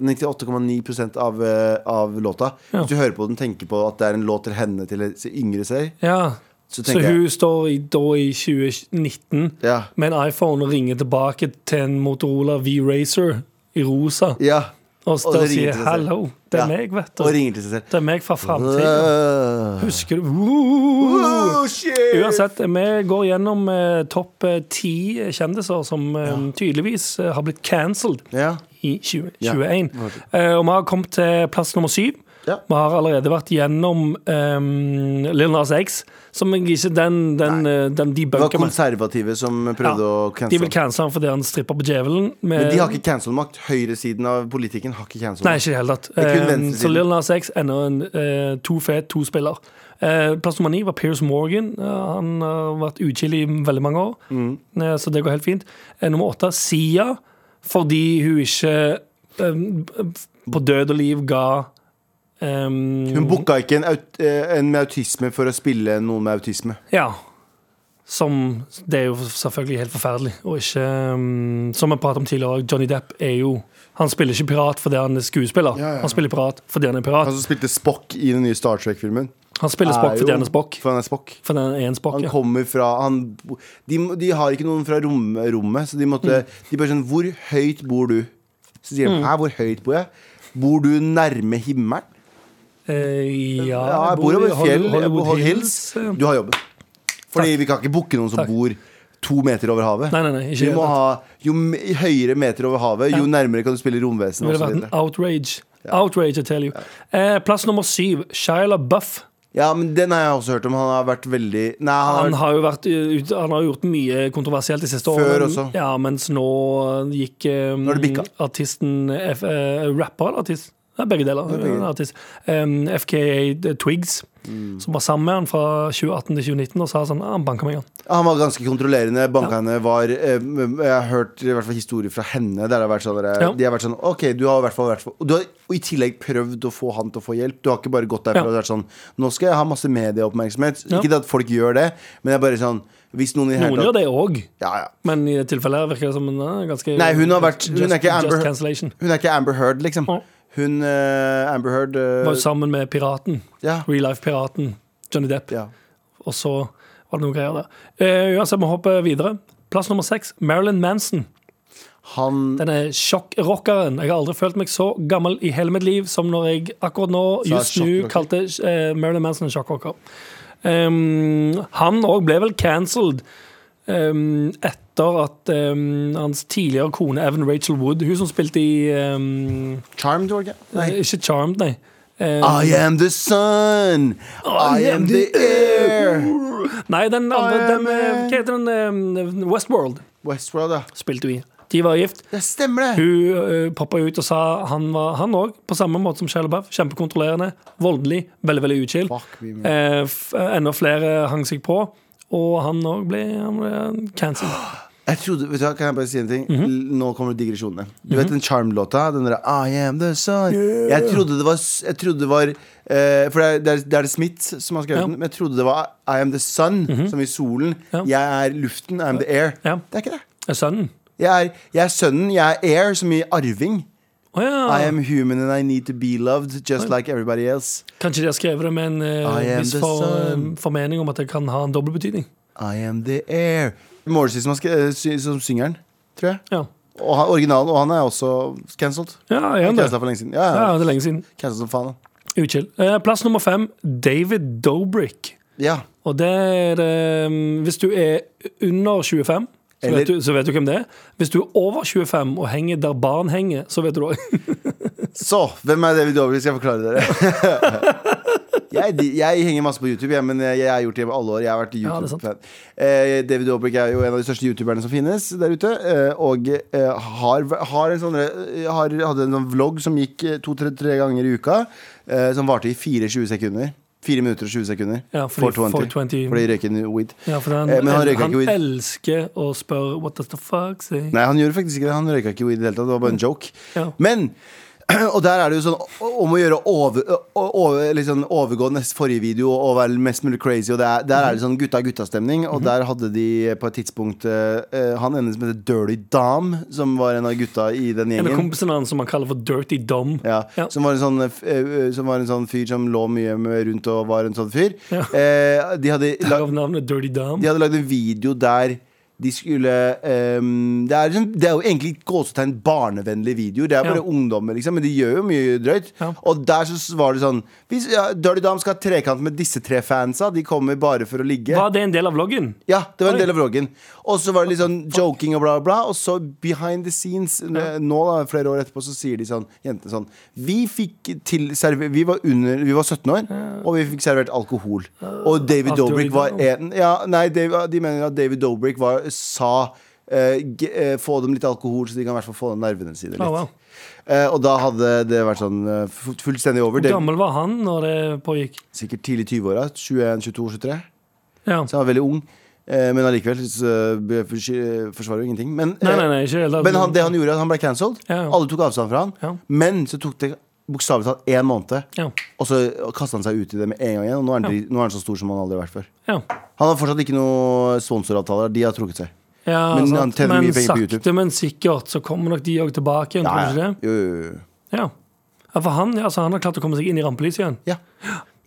Speaker 2: 98,9 av, eh, av låta
Speaker 3: Ja.
Speaker 2: Hvis du hører på den tenker på at det er en låt til henne til en yngre seg,
Speaker 3: Ja.
Speaker 2: så
Speaker 3: Så
Speaker 2: tenker
Speaker 3: hun
Speaker 2: jeg
Speaker 3: står i, da i 2019
Speaker 2: Ja.
Speaker 3: med en iPhone og ringer tilbake til en Motorola V-Racer i rosa.
Speaker 2: ja.
Speaker 3: Og
Speaker 2: Og
Speaker 3: så
Speaker 2: det ringer
Speaker 3: sier
Speaker 2: til seg selv.
Speaker 3: 'hallo, det er
Speaker 2: Ja.
Speaker 3: meg, vet
Speaker 2: Og
Speaker 3: du'.
Speaker 2: ringer til seg selv.
Speaker 3: Det er meg fra framtida.
Speaker 2: Øh.
Speaker 3: Husker du Woo!
Speaker 2: Oh, shit!
Speaker 3: Uansett, vi går gjennom eh, topp eh, ti kjendiser som eh, tydeligvis eh, har blitt cancelled
Speaker 2: Ja.
Speaker 3: i 2021. Eh, og vi har kommet til plass nummer syv.
Speaker 2: Ja.
Speaker 3: Vi har allerede vært gjennom um, Lill Nas X, som jeg ikke Den, den, eh, den de
Speaker 2: Det var
Speaker 3: bunker med.
Speaker 2: konservative som prøvde å
Speaker 3: de vil
Speaker 2: cancele.
Speaker 3: cancele han fordi han stripper på djevelen. med-
Speaker 2: Men de har ikke cancelmakt. Høyresiden av politikken har ikke
Speaker 3: Nei,
Speaker 2: cancelmakt.
Speaker 3: ikke i det hele tatt.
Speaker 2: er kun
Speaker 3: Eh,
Speaker 2: venstresiden.
Speaker 3: så Lill Nas X ennå en eh, to fet, to spiller. Eh, plass nummer ni var Piers Morgan. Eh, han har vært uchill i veldig mange år,
Speaker 2: Mm.
Speaker 3: Eh, så det går helt fint. Eh, nummer åtte Sia, fordi hun ikke eh, på død og liv ga eh,
Speaker 2: Hun booka ikke en, aut eh, en med autisme for å spille noen med autisme.
Speaker 3: Ja. Som Det er jo selvfølgelig helt forferdelig. Og ikke um, Som jeg pratet om tidligere, Johnny Depp er jo Han spiller ikke pirat fordi han er skuespiller.
Speaker 2: Ja, ja, ja.
Speaker 3: Han spiller pirat fordi han er pirat.
Speaker 2: Han som spilte Spock i den nye Star Trek-filmen.
Speaker 3: Han spiller
Speaker 2: er
Speaker 3: spokk
Speaker 2: jo-
Speaker 3: fordi han er spokk.
Speaker 2: For han er Spock.
Speaker 3: For den er en spokk,
Speaker 2: Han
Speaker 3: ja.
Speaker 2: kommer fra han, de, de har ikke noen fra rom, rommet, så de måtte
Speaker 3: Mm.
Speaker 2: De bare sånn Hvor høyt bor du? Så sier de Hæ, hvor høyt bor jeg? Bor du nærme himmelen?
Speaker 3: Eh, ja,
Speaker 2: Ja, jeg bor over et
Speaker 3: Hollywood-
Speaker 2: fjell. Jeg bor
Speaker 3: Hollywood
Speaker 2: Hollywood Hills.
Speaker 3: eh.
Speaker 2: Du har jobben. Fordi vi kan ikke booke noen som
Speaker 3: Takk.
Speaker 2: bor to meter over havet.
Speaker 3: Nei, nei, nei, ikke
Speaker 2: vi
Speaker 3: helt
Speaker 2: må
Speaker 3: rett.
Speaker 2: ha, jo m- høyere meter over havet, jo
Speaker 3: Ja.
Speaker 2: nærmere kan du spille
Speaker 3: Det
Speaker 2: romvesen. og
Speaker 3: ville
Speaker 2: så
Speaker 3: vært en
Speaker 2: videre.
Speaker 3: outrage. Outrage, I tell you. Eh, plass nummer syv, Shia Buff.
Speaker 2: Ja, men Den har jeg også hørt om. Han har vært veldig Nei, han
Speaker 3: Han
Speaker 2: har,
Speaker 3: har jo vært, eh, ut- han har gjort mye kontroversielt de siste årene.
Speaker 2: Før også.
Speaker 3: Ja, mens nå gikk eh,
Speaker 2: Nå er det bikka.
Speaker 3: artisten eh, F, eh, Rapper eller artist? Nei, begge deler.
Speaker 2: begge deler.
Speaker 3: En artist. Em, FKA eh, Twigs,
Speaker 2: Mm.
Speaker 3: som var sammen med han fra 2018 til 2019, og sa sånn ah, Han banka meg, han.
Speaker 2: han var ganske kontrollerende. Banka henne var eh, Jeg har hørt i hvert fall historier fra henne der det har vært sånn der,
Speaker 3: Ja.
Speaker 2: De har vært sånn OK, du har i hvert fall vært for- og du har, Og i tillegg prøvd å få han til å få hjelp. Du har ikke bare gått derfra
Speaker 3: Ja.
Speaker 2: og vært sånn Nå skal jeg ha masse medieoppmerksomhet.
Speaker 3: Ja.
Speaker 2: Ikke at folk gjør det, men det er bare sånn Hvis noen i det hele
Speaker 3: Noen
Speaker 2: tatt-
Speaker 3: gjør det òg.
Speaker 2: Ja, ja.
Speaker 3: Men i det tilfellet her virker det som en eh, ganske
Speaker 2: Nei, hun har vært- hun er ikke
Speaker 3: just
Speaker 2: Amber-
Speaker 3: cancellation.
Speaker 2: Hun er ikke Amber Heard, liksom.
Speaker 3: Nei.
Speaker 2: Hun eh, Amber Heard eh,
Speaker 3: Var jo sammen med piraten.
Speaker 2: ja,
Speaker 3: Real Life-piraten Johnny Depp.
Speaker 2: ja.
Speaker 3: Og så var det noen greier der. Eh, uansett, vi hopper videre. Plass nummer seks, Marilyn Manson.
Speaker 2: Han
Speaker 3: Denne sjokkrockeren. Jeg har aldri følt meg så gammel i hele mitt liv som når jeg akkurat nå,
Speaker 2: Sa
Speaker 3: just nå,
Speaker 2: sjokkrocker.
Speaker 3: kalte eh, Marilyn Manson en sjokkrocker. Um, han òg ble vel cancelled um, etter at um, hans tidligere kone Evan Rachel Wood, hun som spilte i um,
Speaker 2: Charmed, var det ikke?
Speaker 3: eh, Ikke Charmed, nei. Um,
Speaker 2: I am the sun, I am the air.
Speaker 3: nei, den andre,
Speaker 2: I
Speaker 3: den,
Speaker 2: am
Speaker 3: eh,
Speaker 2: a-
Speaker 3: hva heter den? eh, Westworld
Speaker 2: Westworld, ja.
Speaker 3: spilte hun i. De var gift.
Speaker 2: Det stemmer, det!
Speaker 3: Hun uh, poppa ut og sa han var han òg, på samme måte som Shia LaBeouf. Kjempekontrollerende, voldelig, veldig veldig uchill.
Speaker 2: Fuck me, man.
Speaker 3: Eh, f- enda flere hang seg på, og han òg ble, han ble cancelled.
Speaker 2: Jeg trodde, vet du, hva, Kan jeg bare si en ting?
Speaker 3: Mhm.
Speaker 2: L- Nå kommer digresjonene. Du vet den Charmed-låta? Den derre I am the sun. Jeg trodde det var, s- jeg trodde det var eh, For det er, det er- det er det Smith som har skrevet
Speaker 3: Ja. Mhm.
Speaker 2: den. Men jeg trodde det var I am the sun, som i solen.
Speaker 3: Ja.
Speaker 2: Jeg er luften, I am the air.
Speaker 3: Ja.
Speaker 2: Det er ikke det.
Speaker 3: Er sønnen.
Speaker 2: Jeg er, jeg er sønnen, jeg er air, som i arving.
Speaker 3: Å
Speaker 2: I
Speaker 3: ja.
Speaker 2: am human and I need to be loved, just like everybody else.
Speaker 3: Kanskje de har skrevet det med en eh,
Speaker 2: I am
Speaker 3: viss
Speaker 2: the
Speaker 3: for,
Speaker 2: sun.
Speaker 3: formening om at det kan ha en dobbel betydning.
Speaker 2: I am the air. Morrissey som, har skre- eh, sy- som synger den, tror jeg.
Speaker 3: Ja,
Speaker 2: Og han, originalen, og han er også cancelled.
Speaker 3: ja er han det?
Speaker 2: Cancelled for lenge siden. Ja,
Speaker 3: Ja,
Speaker 2: ja.
Speaker 3: det er lenge siden.
Speaker 2: Cancelled som faen. da.
Speaker 3: Uchill. Eh, plass nummer fem, David Dobrik.
Speaker 2: Ja.
Speaker 3: Og det er eh, Hvis du er under 25, så,
Speaker 2: Eller-
Speaker 3: vet du, så vet du hvem det er. Hvis du er over 25 og henger der barn henger, så vet du det òg.
Speaker 2: Så, hvem er David Dobrik? Skal jeg forklare dere. jeg, de- jeg henger masse på YouTube, jeg, men jeg jeg har gjort det i alle år. Jeg har vært
Speaker 3: Ja, det er sant.
Speaker 2: YouTube-fan. eh, David Dobrik er jo en av de største youtuberne som finnes der ute. Eh, og eh, har, har en sånn, eh, har, hadde en sånn vlogg som gikk to-tre ganger i uka, eh, som varte i 24 sekunder. 4 minutter og 20 sekunder.
Speaker 3: Ja, fordi
Speaker 2: 420.
Speaker 3: 420.
Speaker 2: Fordi de røyker weed.
Speaker 3: Ja, for han,
Speaker 2: Eh, men han røyker
Speaker 3: han
Speaker 2: ikke weed.
Speaker 3: elsker å spørre What does the fuck say?
Speaker 2: Nei, han gjorde faktisk ikke det. Han røyka ikke weed i det hele tatt. Det var
Speaker 3: Mm.
Speaker 2: bare en joke.
Speaker 3: Ja.
Speaker 2: Men og der er det jo sånn o- om å gjøre å over, å- over, liksom overgå neste forrige video og være mest mulig crazy. Og der, der er det sånn gutta-gutta-stemning.
Speaker 3: Mhm.
Speaker 2: Og der hadde de på et tidspunkt eh, eh, han ene som heter Dirty Dom, som var en av gutta i den
Speaker 3: En av
Speaker 2: gjengen.
Speaker 3: kompisene hans som han kaller for Dirty Dom.
Speaker 2: Ja,
Speaker 3: Ja.
Speaker 2: Som, var en sånn, eh, f- eh, som var en sånn fyr som lå mye med rundt og var en sånn fyr.
Speaker 3: Ja.
Speaker 2: Eh, de hadde la-
Speaker 3: Derav navnet Dirty Dom.
Speaker 2: de hadde lagd en video der de skulle ehm, det, er, liksom- det er jo egentlig gåsetegn barnevennlige videoer. Det er bare
Speaker 3: Ja.
Speaker 2: ungdommer, liksom, men de gjør jo mye drøyt.
Speaker 3: Ja.
Speaker 2: Og der så var det sånn hvis, ja, Dirty Dam skal ha trekant med disse tre fansa. De kommer bare for å ligge.
Speaker 3: Var det en del av vloggen?
Speaker 2: Ja, det var en
Speaker 3: Oi.
Speaker 2: del av vloggen. Og så var det litt sånn joking og bla, bla. Og så behind the scenes eh, nå, da, flere år etterpå, så sier de sånn jentene sånn Vi fikk til server, vi, var under, vi var 17 år, og vi fikk servert alkohol. Og David
Speaker 3: At du
Speaker 2: Dobrik
Speaker 3: ikke-
Speaker 2: var en Ja, nei, Dav- de mener at David Dobrik var, sa eh, g, eh, Få dem litt alkohol, så de kan i hvert fall få ned nervene sine litt.
Speaker 3: Ah, wow.
Speaker 2: Eh, og da hadde det vært sånn eh, fu- fullstendig over.
Speaker 3: Hvor
Speaker 2: Det,
Speaker 3: gammel var han når det pågikk?
Speaker 2: sikkert tidlig 20-åra. 21, 22, 23.
Speaker 3: Ja.
Speaker 2: Så han var veldig ung. Eh, men allikevel så be- forsy- forsvarer jo ingenting. Men, eh,
Speaker 3: Nei, nei, nei, ikke helt.
Speaker 2: men han, det han gjorde, at han ble cancelled.
Speaker 3: Ja, ja.
Speaker 2: Alle tok avstand fra han.
Speaker 3: Ja.
Speaker 2: Men så tok det bokstavelig talt én måned,
Speaker 3: Ja.
Speaker 2: og så kasta han seg ut i det med en gang igjen. Og nå er, han, dri- nå er han så stor som han aldri har vært før.
Speaker 3: ja.
Speaker 2: Han har fortsatt ikke noen sponsoravtaler. De har trukket seg.
Speaker 3: ja
Speaker 2: Men
Speaker 3: sant.
Speaker 2: han tjener
Speaker 3: men
Speaker 2: mye penger på YouTube.
Speaker 3: sakte, men sikkert så kommer nok de òg tilbake igjen, tror du ikke det?
Speaker 2: Jo, jo, jo.
Speaker 3: Ja. ja for han, ja, altså, han har klart å komme seg inn i rampelyset igjen.
Speaker 2: Ja.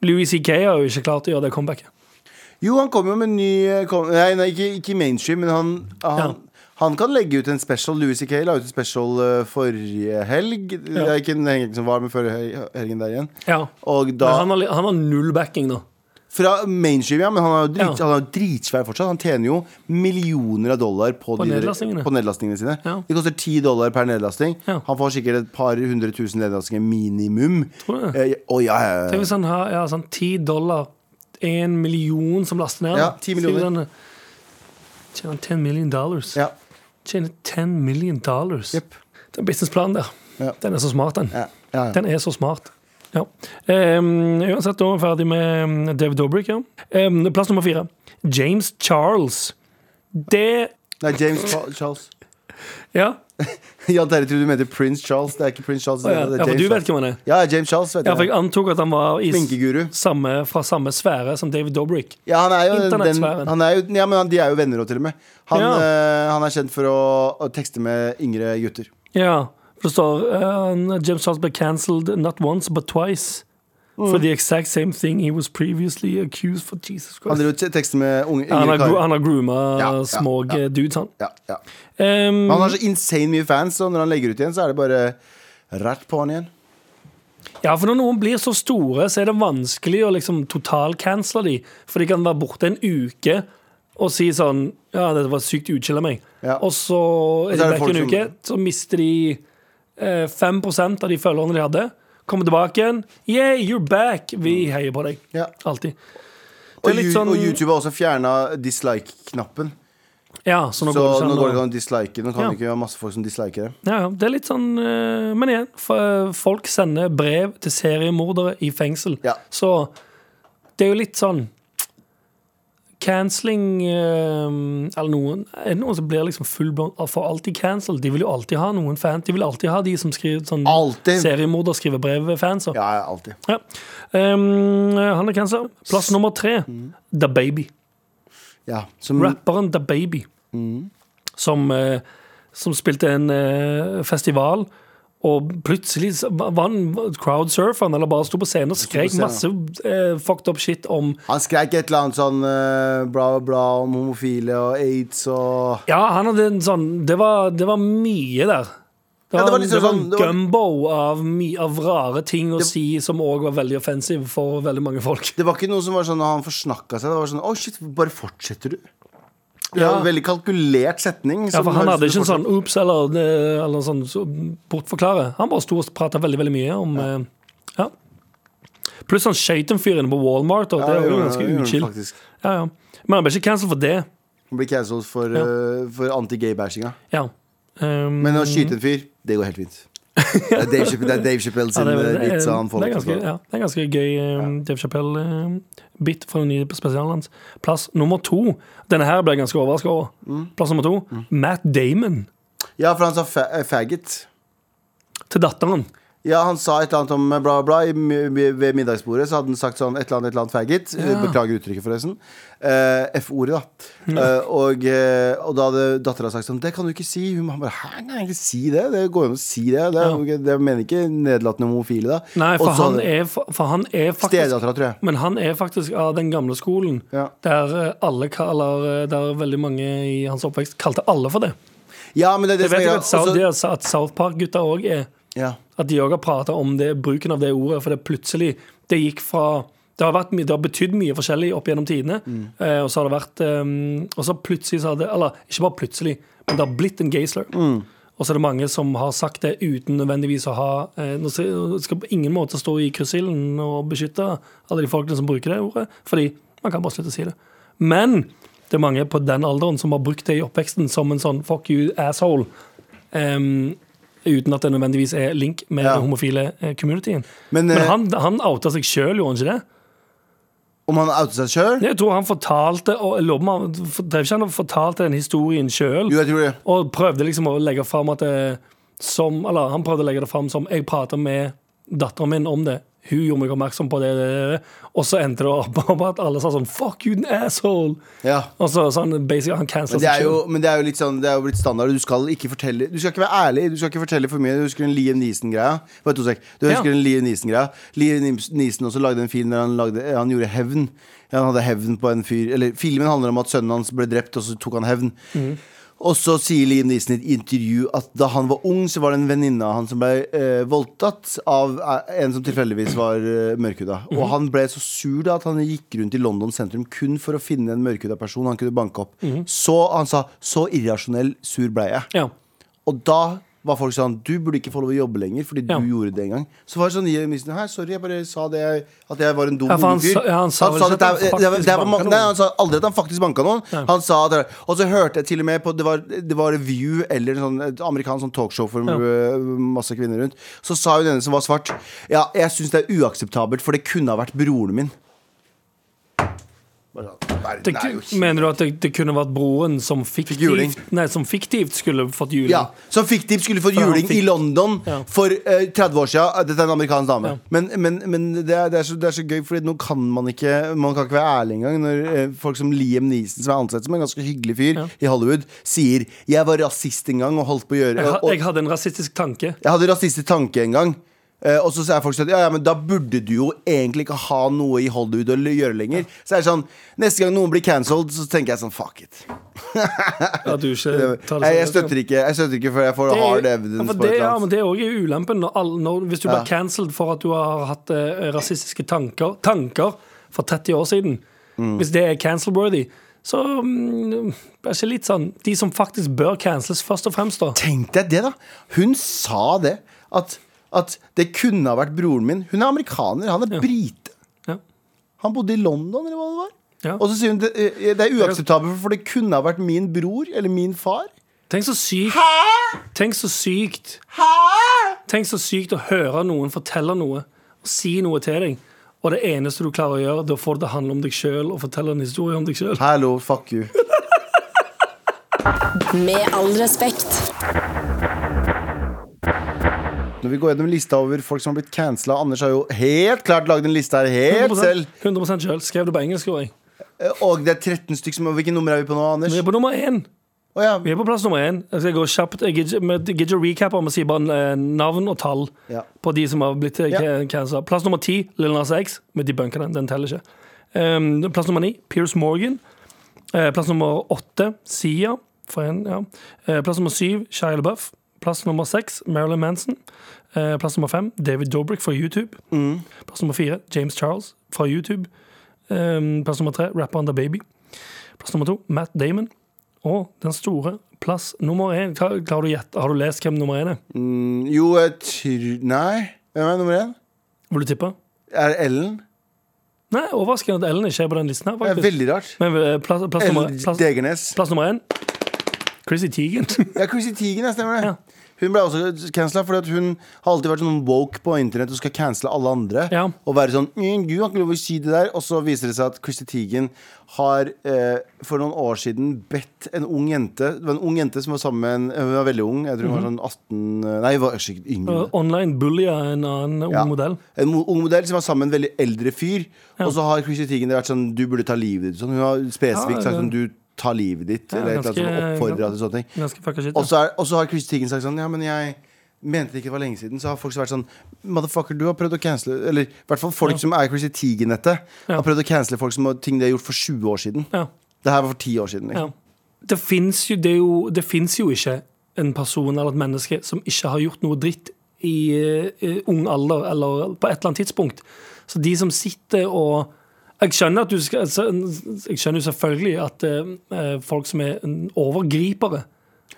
Speaker 3: Louis C.K. har jo ikke klart å gjøre det comebacket.
Speaker 2: Jo, han kom jo med en ny eh, kom, Nei, nei ikke, ikke mainstream, men han, han, han kan legge ut en special. Louis C.K. la ut en special eh, forrige helg. Det er ikke den helgen som var, men forrige hel- helgen der igjen.
Speaker 3: Ja.
Speaker 2: Og da,
Speaker 3: Men han, har, li- han har null backing nå.
Speaker 2: Fra mainstream, ja, men han er jo drit,
Speaker 3: Ja.
Speaker 2: han er jo dritsvær fortsatt. Han tjener jo millioner av dollar på,
Speaker 3: På
Speaker 2: de der-
Speaker 3: nedlastingene.
Speaker 2: på nedlastingene sine.
Speaker 3: Ja.
Speaker 2: Det koster ti dollar per nedlasting.
Speaker 3: Ja.
Speaker 2: Han får sikkert et par hundre tusen nedlastinger minimum.
Speaker 3: Tror du
Speaker 2: Eh, å, ja, ja, ja.
Speaker 3: Tenk hvis han har ja, sånn 10 dollar, 1 million som laster ned.
Speaker 2: Ja, 10 millioner.
Speaker 3: Skriver han, eh, Tjener han 10 million dollars?
Speaker 2: ja.
Speaker 3: Tjener 10 million dollars.
Speaker 2: Jepp.
Speaker 3: Den businessplanen der,
Speaker 2: Ja.
Speaker 3: den er så smart, den.
Speaker 2: Ja, ja, ja.
Speaker 3: Den er så smart. Ja. Em, uansett, da er vi ferdig med em, David Dobrik. Ja. Em, plass nummer fire. James Charles. Det
Speaker 2: Nei, James Cha- Charles.
Speaker 3: Ja,
Speaker 2: Jan Terje tror du mente Prince Charles. Det er ikke Prince Charles.
Speaker 3: Å ja.
Speaker 2: det er
Speaker 3: ja for
Speaker 2: James
Speaker 3: du
Speaker 2: Charles.
Speaker 3: vet hvem han er?
Speaker 2: Ja, James Charles, vet
Speaker 3: Ja, for
Speaker 2: jeg.
Speaker 3: jeg antok at han var i
Speaker 2: Sminkeguru.
Speaker 3: samme, fra samme sfære som David Dobrik.
Speaker 2: Ja, han er jo den,
Speaker 3: Internettsfæren.
Speaker 2: han er jo, ja, men han, de er jo venner òg, til og med. Han,
Speaker 3: Ja.
Speaker 2: eh, han er kjent for å, å tekste med yngre gutter.
Speaker 3: Ja, For det står eh, James Charles ble cancelled not once but twice. For the exact same thing he was previously accused for. Jesus
Speaker 2: Han
Speaker 3: Christ.
Speaker 2: driver jo teksten med unge,
Speaker 3: Han
Speaker 2: yngre
Speaker 3: har, gro-
Speaker 2: karer.
Speaker 3: han har grooma
Speaker 2: Ja, ja,
Speaker 3: små eh, dudes, han.
Speaker 2: Ja, ja.
Speaker 3: Ehm,
Speaker 2: Han har så insane mye fans, så når han legger ut igjen, så er det bare rett på han igjen.
Speaker 3: Ja, for når noen blir så store, så er det vanskelig å liksom totalcancele de. For de kan være borte en uke og si sånn Ja, dette var sykt uchill av meg.
Speaker 2: Ja.
Speaker 3: Og så
Speaker 2: så
Speaker 3: er de
Speaker 2: er det
Speaker 3: vekk en
Speaker 2: folk
Speaker 3: uke, så mister de eh, 5 av de følgerne de hadde. Kommer tilbake igjen. Yeah, you're back! Vi heier på deg.
Speaker 2: Mm. Ja.
Speaker 3: Alltid.
Speaker 2: Og,
Speaker 3: Det er litt
Speaker 2: Yu-
Speaker 3: sånn-
Speaker 2: og YouTube har også fjerna dislike-knappen.
Speaker 3: Ja, så nå
Speaker 2: Så
Speaker 3: går det
Speaker 2: nå går det
Speaker 3: ikke
Speaker 2: ikke
Speaker 3: an å
Speaker 2: an å dislike. Nå kan
Speaker 3: Ja.
Speaker 2: det ikke være masse folk som disliker det.
Speaker 3: ja, ja, Det er litt sånn eh, Men igjen, f- folk sender brev til seriemordere i fengsel.
Speaker 2: Ja.
Speaker 3: Så det er jo litt sånn Canceling eh, Eller noen Er det noen som blir liksom fullblond for alltid cancelled? De vil jo alltid ha noen fan De vil alltid ha de som skriver sånn
Speaker 2: Alltid.
Speaker 3: seriemorder skriver brev ved fans. og-
Speaker 2: Ja, ja, alltid.
Speaker 3: Ja. Um, han er cancer. Plass nummer tre,
Speaker 2: Mm.
Speaker 3: The Baby.
Speaker 2: Ja, som,
Speaker 3: Rapperen The Baby. Som, eh, som spilte en eh, festival, og plutselig så var var han crowdsurferen, eller bare sto på scenen og skrek
Speaker 2: på
Speaker 3: masse eh, fucked up shit om
Speaker 2: han skreik et eller annet sånn eh, bla, bla, bla om homofile og aids og
Speaker 3: Ja, han hadde en sånn Det var, det var mye der. Det
Speaker 2: Ja,
Speaker 3: var,
Speaker 2: det
Speaker 3: det
Speaker 2: var
Speaker 3: var,
Speaker 2: liksom sånn- det var-
Speaker 3: gumbo av, my- av rare ting å si som òg var veldig offensiv for veldig mange folk.
Speaker 2: Det var ikke noe som var sånn at han forsnakka seg. Det var sånn Å, shit, bare fortsetter du? Det var
Speaker 3: Ja.
Speaker 2: en veldig kalkulert setning.
Speaker 3: Ja,
Speaker 2: som liksom
Speaker 3: for Han
Speaker 2: har
Speaker 3: hadde
Speaker 2: lyst til
Speaker 3: ikke
Speaker 2: å
Speaker 3: en sånn oops eller, eh, eller sånn så, bortforklare. Han bare sto og prata veldig veldig mye om eh, Ja. Pluss han skøyt den fyren på Walmart, og
Speaker 2: fortsette.
Speaker 3: det
Speaker 2: Ja,
Speaker 3: er jo
Speaker 2: gjorde
Speaker 3: ganske
Speaker 2: det, gjorde det
Speaker 3: uchill.
Speaker 2: faktisk.
Speaker 3: Ja, ja. Men han ble ikke cancelled for det.
Speaker 2: Han blir cancelled for, eh, for anti-gay-bæsjinga.
Speaker 3: Ja. Um,
Speaker 2: Men å skyte en fyr, det går helt fint. Det er Dave Chappelle, det er Dave Chappelle
Speaker 3: ja,
Speaker 2: sin
Speaker 3: det,
Speaker 2: eh,
Speaker 3: det,
Speaker 2: vits. Han
Speaker 3: det,
Speaker 2: får
Speaker 3: er
Speaker 2: lov
Speaker 3: ganske,
Speaker 2: til å ta.
Speaker 3: ja, det er ganske gøy eh, Dave um, Chappelle-bit fra den nye spesialen hans. Plass nummer to. Denne her ble jeg ganske overraska over.
Speaker 2: Mm.
Speaker 3: Plass nummer to. Matt Damon
Speaker 2: Ja, for han sa fa eh, faggot.
Speaker 3: til datteren.
Speaker 2: Ja, han sa et eller annet om eh, bla, bla i, mi- mi- ved middagsbordet. Så hadde han sagt sånn et eller annet, et eller annet faggot.
Speaker 3: Ja.
Speaker 2: Beklager uttrykket, forresten. Eh, F-ordet, da. Eh, og, eh, og da hadde dattera sagt sånn Det kan du ikke si. Hun han bare Hæ, kan jeg ikke si det? Det går jo an å si det. Det, er jo ikke- det mener ikke nedlatende homofile, da.
Speaker 3: Nei, for
Speaker 2: Og så
Speaker 3: han,
Speaker 2: hadde-
Speaker 3: er, for, for han er faktisk
Speaker 2: Stedattera, tror jeg.
Speaker 3: Men han er faktisk av den gamle skolen
Speaker 2: Ja.
Speaker 3: der, eh, alle, kaller, eh, der veldig mange i hans oppvekst kalte alle for det.
Speaker 2: Ja, men det er det
Speaker 3: Jeg vet jo at,
Speaker 2: som altså-
Speaker 3: South,
Speaker 2: er
Speaker 3: det
Speaker 2: greia.
Speaker 3: er sa- at South Park-gutta òg er
Speaker 2: Ja.
Speaker 3: At de òg har prata om det, bruken av det ordet, for det plutselig Det gikk fra Det har, vært, mye- det har betydd mye forskjellig opp gjennom tidene, eh, og så har det vært eh, Og så plutselig så har det Eller ikke bare plutselig, men det har blitt en gay-slur. Og så er det mange som har sagt det uten nødvendigvis å ha eh, Nå skal nå skal på ingen måte stå i kryssilden og beskytte alle de folkene som bruker det ordet, fordi man kan bare slutte å si det. Men det er mange på den alderen som har brukt det i oppveksten som en sånn fuck you asshole. em, uten at det nødvendigvis er link med
Speaker 2: Ja.
Speaker 3: den homofile eh, communityen.
Speaker 2: Men,
Speaker 3: Men,
Speaker 2: eh,
Speaker 3: han, han outa seg sjøl, gjorde han ikke det?
Speaker 2: Om han outet seg sjøl?
Speaker 3: Jeg tror han fortalte og, jeg lover meg, han for- Drev ikke han og fortalte den historien sjøl?
Speaker 2: Jo, jeg tror det.
Speaker 3: Og prøvde liksom å legge fram at det, som, Eller han prøvde å legge det fram som Jeg prater med datteren min om det. Hun gjorde meg oppmerksom på det. det, det, det. Og så endte det opp med at alle sa sånn Fuck you, an asshole!
Speaker 2: Ja.
Speaker 3: Og så sa han basically Han cancela
Speaker 2: Men det,
Speaker 3: seg
Speaker 2: er jo,
Speaker 3: selv
Speaker 2: men det er jo litt sånn Det er jo blitt standard. Du skal ikke fortelle Du skal ikke være ærlig. Du skal ikke fortelle for mye. Du husker den Liam Neeson-greia? Bare to sek. Du husker
Speaker 3: Ja.
Speaker 2: den Liam Neeson-greia? Liam Neeson- Neeson også lagde en film der han, lagde, han gjorde hevn. Han hadde hevn på en fyr Eller filmen handler om at sønnen hans ble drept, og så tok han hevn. Og så sier Liam Neeson i et intervju at da han var ung, så var det en venninne av han som ble eh, voldtatt av eh, en som tilfeldigvis var eh, mørkhuda. Og han ble så sur da at han gikk rundt i London sentrum kun for å finne en mørkhuda person han kunne banke opp. Så han sa 'så irrasjonell sur ble jeg'.
Speaker 3: Ja.
Speaker 2: Og da var folk sånn 'du burde ikke få lov å jobbe lenger', fordi
Speaker 3: Ja.
Speaker 2: du gjorde det en gang. Så var det sånn Liam Neeson 'hei, sorry, jeg bare sa det jeg, at jeg var en dum
Speaker 3: Ja, for han
Speaker 2: ungefyr'.
Speaker 3: sa- ja, han sa vel ikke
Speaker 2: at det,
Speaker 3: at
Speaker 2: er-
Speaker 3: han
Speaker 2: det, var-
Speaker 3: faktisk
Speaker 2: det var
Speaker 3: banka
Speaker 2: ma-
Speaker 3: noen.
Speaker 2: Nei, han sa aldri at han faktisk banka noen. Han sa at, og så hørte jeg til og med på Det var, det var View eller en sånn, et amerikansk sånn talkshow for øh, masse kvinner rundt. Så sa jo denne som var svart, ja, jeg syns det er uakseptabelt, for det kunne ha vært broren min. Bare sånn, Nei,
Speaker 3: Det,
Speaker 2: det er jo
Speaker 3: ku- mener du at det, det kunne vært broren som
Speaker 2: juling.
Speaker 3: fiktivt, nei, som fiktivt skulle fått juling?
Speaker 2: Ja, Som fikk tips skulle få
Speaker 3: han
Speaker 2: juling
Speaker 3: fikk-
Speaker 2: i London
Speaker 3: Ja.
Speaker 2: for eh, 30 år siden. Dette er en amerikansk dame.
Speaker 3: Ja.
Speaker 2: Men, men, men det, er, det, er så, det er så gøy, Fordi nå kan man ikke Man kan ikke være ærlig engang når eh, folk som Liam Neeson, som er ansett som en ganske hyggelig fyr i Hollywood, sier 'jeg var rasist en gang og holdt på å gjøre
Speaker 3: Jeg, ha-
Speaker 2: og,
Speaker 3: jeg hadde en rasistisk tanke.
Speaker 2: Jeg hadde rasistisk tanke en gang. Eh, og så sier folk sånn ja, ja, men da burde du jo egentlig ikke ha noe i Hollywood å gjøre lenger. Så er det sånn Neste gang noen blir cancelled, så tenker jeg sånn fuck it.
Speaker 3: At du ikke
Speaker 2: Jeg,
Speaker 3: tar det
Speaker 2: jeg støtter ikke Jeg støtter ikke før jeg får
Speaker 3: Det er-
Speaker 2: hard
Speaker 3: ja,
Speaker 2: evidence
Speaker 3: for
Speaker 2: på et
Speaker 3: det,
Speaker 2: eller
Speaker 3: ja,
Speaker 2: annet.
Speaker 3: men det er også ulempen når alle, når, Hvis du
Speaker 2: Ja.
Speaker 3: blir cancelled for at du har hatt eh, rasistiske tanker Tanker for 30 år siden
Speaker 2: Mm.
Speaker 3: Hvis det er cancel-worthy Så mm, det er ikke litt sånn De som faktisk bør cancels først og fremst da
Speaker 2: Tenk deg det, da! Hun sa det. At, at det kunne ha vært broren min. Hun er amerikaner, han er brite.
Speaker 3: ja.
Speaker 2: Han bodde i London, eller hva det var.
Speaker 3: Ja.
Speaker 2: Og så sier hun det, eh, det er uakseptabelt, for det kunne ha vært min bror eller min far.
Speaker 3: Tenk så sykt Tenk så sykt Tenk så sykt å høre noen fortelle noe Og si noe til deg Og det eneste du klarer å gjøre Da får det handle om deg selv Og fortelle en historie om deg selv
Speaker 2: Hallo, fuck you.
Speaker 4: Med all respekt.
Speaker 2: Når vi går gjennom lista over folk som har blitt cancela Anders har jo helt klart lagd en liste her helt
Speaker 3: 100%,
Speaker 2: selv.
Speaker 3: 100 selv Skrev det på engelsk, gjorde jeg
Speaker 2: Eh, Og det er 13 stykk som Hvilke nummer er vi på nå, Anders?
Speaker 3: Vi er på nummer én.
Speaker 2: Å ja.
Speaker 3: Vi er på plass nummer én. Jeg skal gå kjapt. Jeg gidder ikke- men jeg gidder ikke recap om å si bare eh, navn og tall
Speaker 2: Ja.
Speaker 3: på de som har blitt eh,
Speaker 2: Ja.
Speaker 3: ca- cancela. Plass nummer ti, Lil Nas X, med de bunkerne. Den teller ikke. Um, plass nummer ni, Piers Morgan. Eh, plass nummer åtte, Sia. For en, ja. Eh, plass nummer syv, Shia LaBeouf. Plass nummer seks, Marilyn Manson. Eh, plass nummer fem, David Dobrik fra YouTube. Plass nummer fire, James Charles fra YouTube. Eh, plass nummer tre, rapperen The Baby. Plass nummer to, Matt Damon. Og den store plass nummer én. Klar- Klarer du å gjette? Har du lest hvem nummer én er?
Speaker 2: Mm, Jo, jeg tror Nei. Hvem er nummer én?
Speaker 3: Vil du tippe?
Speaker 2: Er det Ellen?
Speaker 3: Nei, overraskende at Ellen ikke er på den listen her,
Speaker 2: Det er
Speaker 3: faktisk.
Speaker 2: veldig rart.
Speaker 3: Men eh, plass, plass, nummer,
Speaker 2: Ellen
Speaker 3: plass,
Speaker 2: Degernes.
Speaker 3: plass nummer én Chrissy Teigen.
Speaker 2: Ja, Chrissy Teigen, ja, stemmer det. Hun ble også cancela fordi at hun har alltid vært sånn woke på internett og skal cancele alle andre.
Speaker 3: Ja.
Speaker 2: Og være sånn «Mm, Du har ikke lov å si det der. Og så viser det seg at Chrissy Teigen har eh, for noen år siden bedt en ung jente Det var en ung jente som var sammen med en Hun var veldig ung. Jeg tror hun
Speaker 3: Mhm.
Speaker 2: var sånn 18 Nei, hun var sikkert yngre.
Speaker 3: Eh, Online bully er en annen ung
Speaker 2: Ja.
Speaker 3: modell.
Speaker 2: En mo- ung modell som var sammen med en veldig eldre fyr. Og så har Chrissy Teigen vært sånn Du burde ta livet ditt. Sånn, hun har spesifikt
Speaker 3: Ja,
Speaker 2: sagt
Speaker 3: ja.
Speaker 2: sånn Du tar livet ditt.
Speaker 3: Ja,
Speaker 2: eller et eller annet
Speaker 3: ganske- eh,
Speaker 2: sånn oppfordra til sånne ting.
Speaker 3: Ganske fucka shit.
Speaker 2: Og
Speaker 3: Ja.
Speaker 2: så er- og så har Chrissy Teigen sagt sånn Ja, men jeg mente det ikke var lenge siden. Så har folk som vært sånn Motherfucker, du har prøvd å cancele Eller i hvert fall folk
Speaker 3: Ja.
Speaker 2: som er Chrissy Teigen-nettet,
Speaker 3: Ja.
Speaker 2: har prøvd å cancele folk som har ting de har gjort for 20 år siden.
Speaker 3: Ja.
Speaker 2: Det her var for 10 år siden.
Speaker 3: Ja.
Speaker 2: Liksom.
Speaker 3: Det fins jo, det er jo, det finnes jo ikke en person eller et menneske som ikke har gjort noe dritt i eh, ung alder eller på et eller annet tidspunkt. Så de som sitter og Jeg skjønner, at du skal, jeg skjønner jo selvfølgelig at eh, folk som er overgripere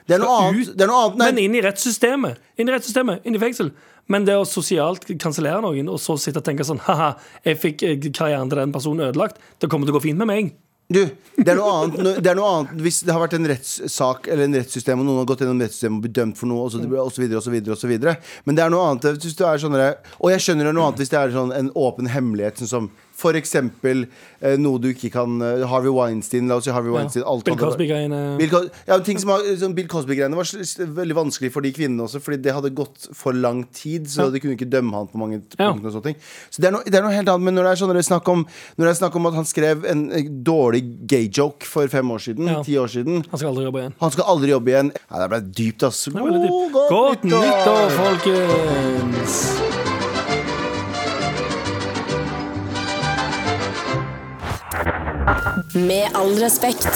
Speaker 2: Det er noe
Speaker 3: Skal
Speaker 2: annet.
Speaker 3: ut.
Speaker 2: Det er noe annet. Nei,
Speaker 3: Men inn i rettssystemet. Inn i rettssystemet, inn i fengsel. Men det å sosialt kansellere noen, og så sitte og tenke sånn Haha, jeg fikk eh, karrieren til den personen ødelagt. Det kommer til å gå fint med meg.
Speaker 2: Du, det er noe annet, når- det er noe annet hvis det har vært en rettssak eller en rettssystem, og noen har gått gjennom rettssystemet og blitt dømt for noe, og så, og så videre, og så videre, og så videre. Men det er noe annet hvis du er sånn der- Og jeg skjønner det er noe annet hvis det er sånn en åpen hemmelighet, sånn som for eksempel eh, noe du ikke kan eh, Harvey Weinstein, la oss si Harvey Weinstein. alt
Speaker 3: Bill
Speaker 2: hadde vært-
Speaker 3: Cosby-greiene.
Speaker 2: Bill, Cos- ja, men ting som har, sånn Bill Cosby-greiene var sl- sl- veldig vanskelig for de kvinnene også, fordi det hadde gått for lang tid, så de kunne ikke dømme han på mange t-
Speaker 3: Ja.
Speaker 2: punkter. og sånne ting Så det er, noe, det er noe helt annet. Men når det er sånn når det er snakk om Når det er snakk om at han skrev en eh, dårlig gay-joke for fem år siden,
Speaker 3: Ja.
Speaker 2: ti år siden
Speaker 3: Han skal aldri jobbe igjen.
Speaker 2: Han skal aldri jobbe igjen. Nei, det ble dypt, ass.
Speaker 3: Det er veldig dypt. Godt nyttår, folkens!
Speaker 4: Med all respekt.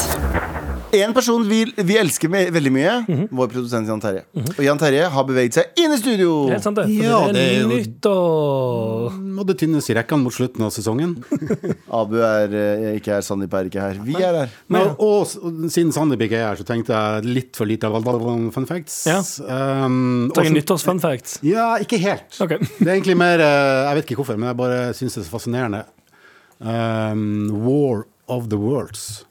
Speaker 2: En person vi, vi elsker med, veldig mye,
Speaker 3: Mhm.
Speaker 2: vår produsent Jan Terje. Og Jan Terje har beveget seg inn i studio.
Speaker 3: Helt sant, Mhm. det.
Speaker 5: Ja,
Speaker 3: For det
Speaker 5: det er
Speaker 3: er
Speaker 5: jo-
Speaker 3: nyttår.
Speaker 5: Må det tynnes i rekkene mot slutten av sesongen.
Speaker 2: Abu er eh, ikke her, Sandeep er ikke her. Vi er her.
Speaker 5: Men,
Speaker 3: Ja.
Speaker 5: og, s- og siden Sandeep ikke er her, så tenkte jeg litt for lite fun facts.
Speaker 3: Ja.
Speaker 5: Um,
Speaker 3: Ta en
Speaker 5: og-
Speaker 3: nyttårsfun fact.
Speaker 5: Ja, ikke helt.
Speaker 3: Ok.
Speaker 5: Det er egentlig mer eh, Jeg vet ikke hvorfor, men jeg bare syns det er så fascinerende. Um, War of the Worlds.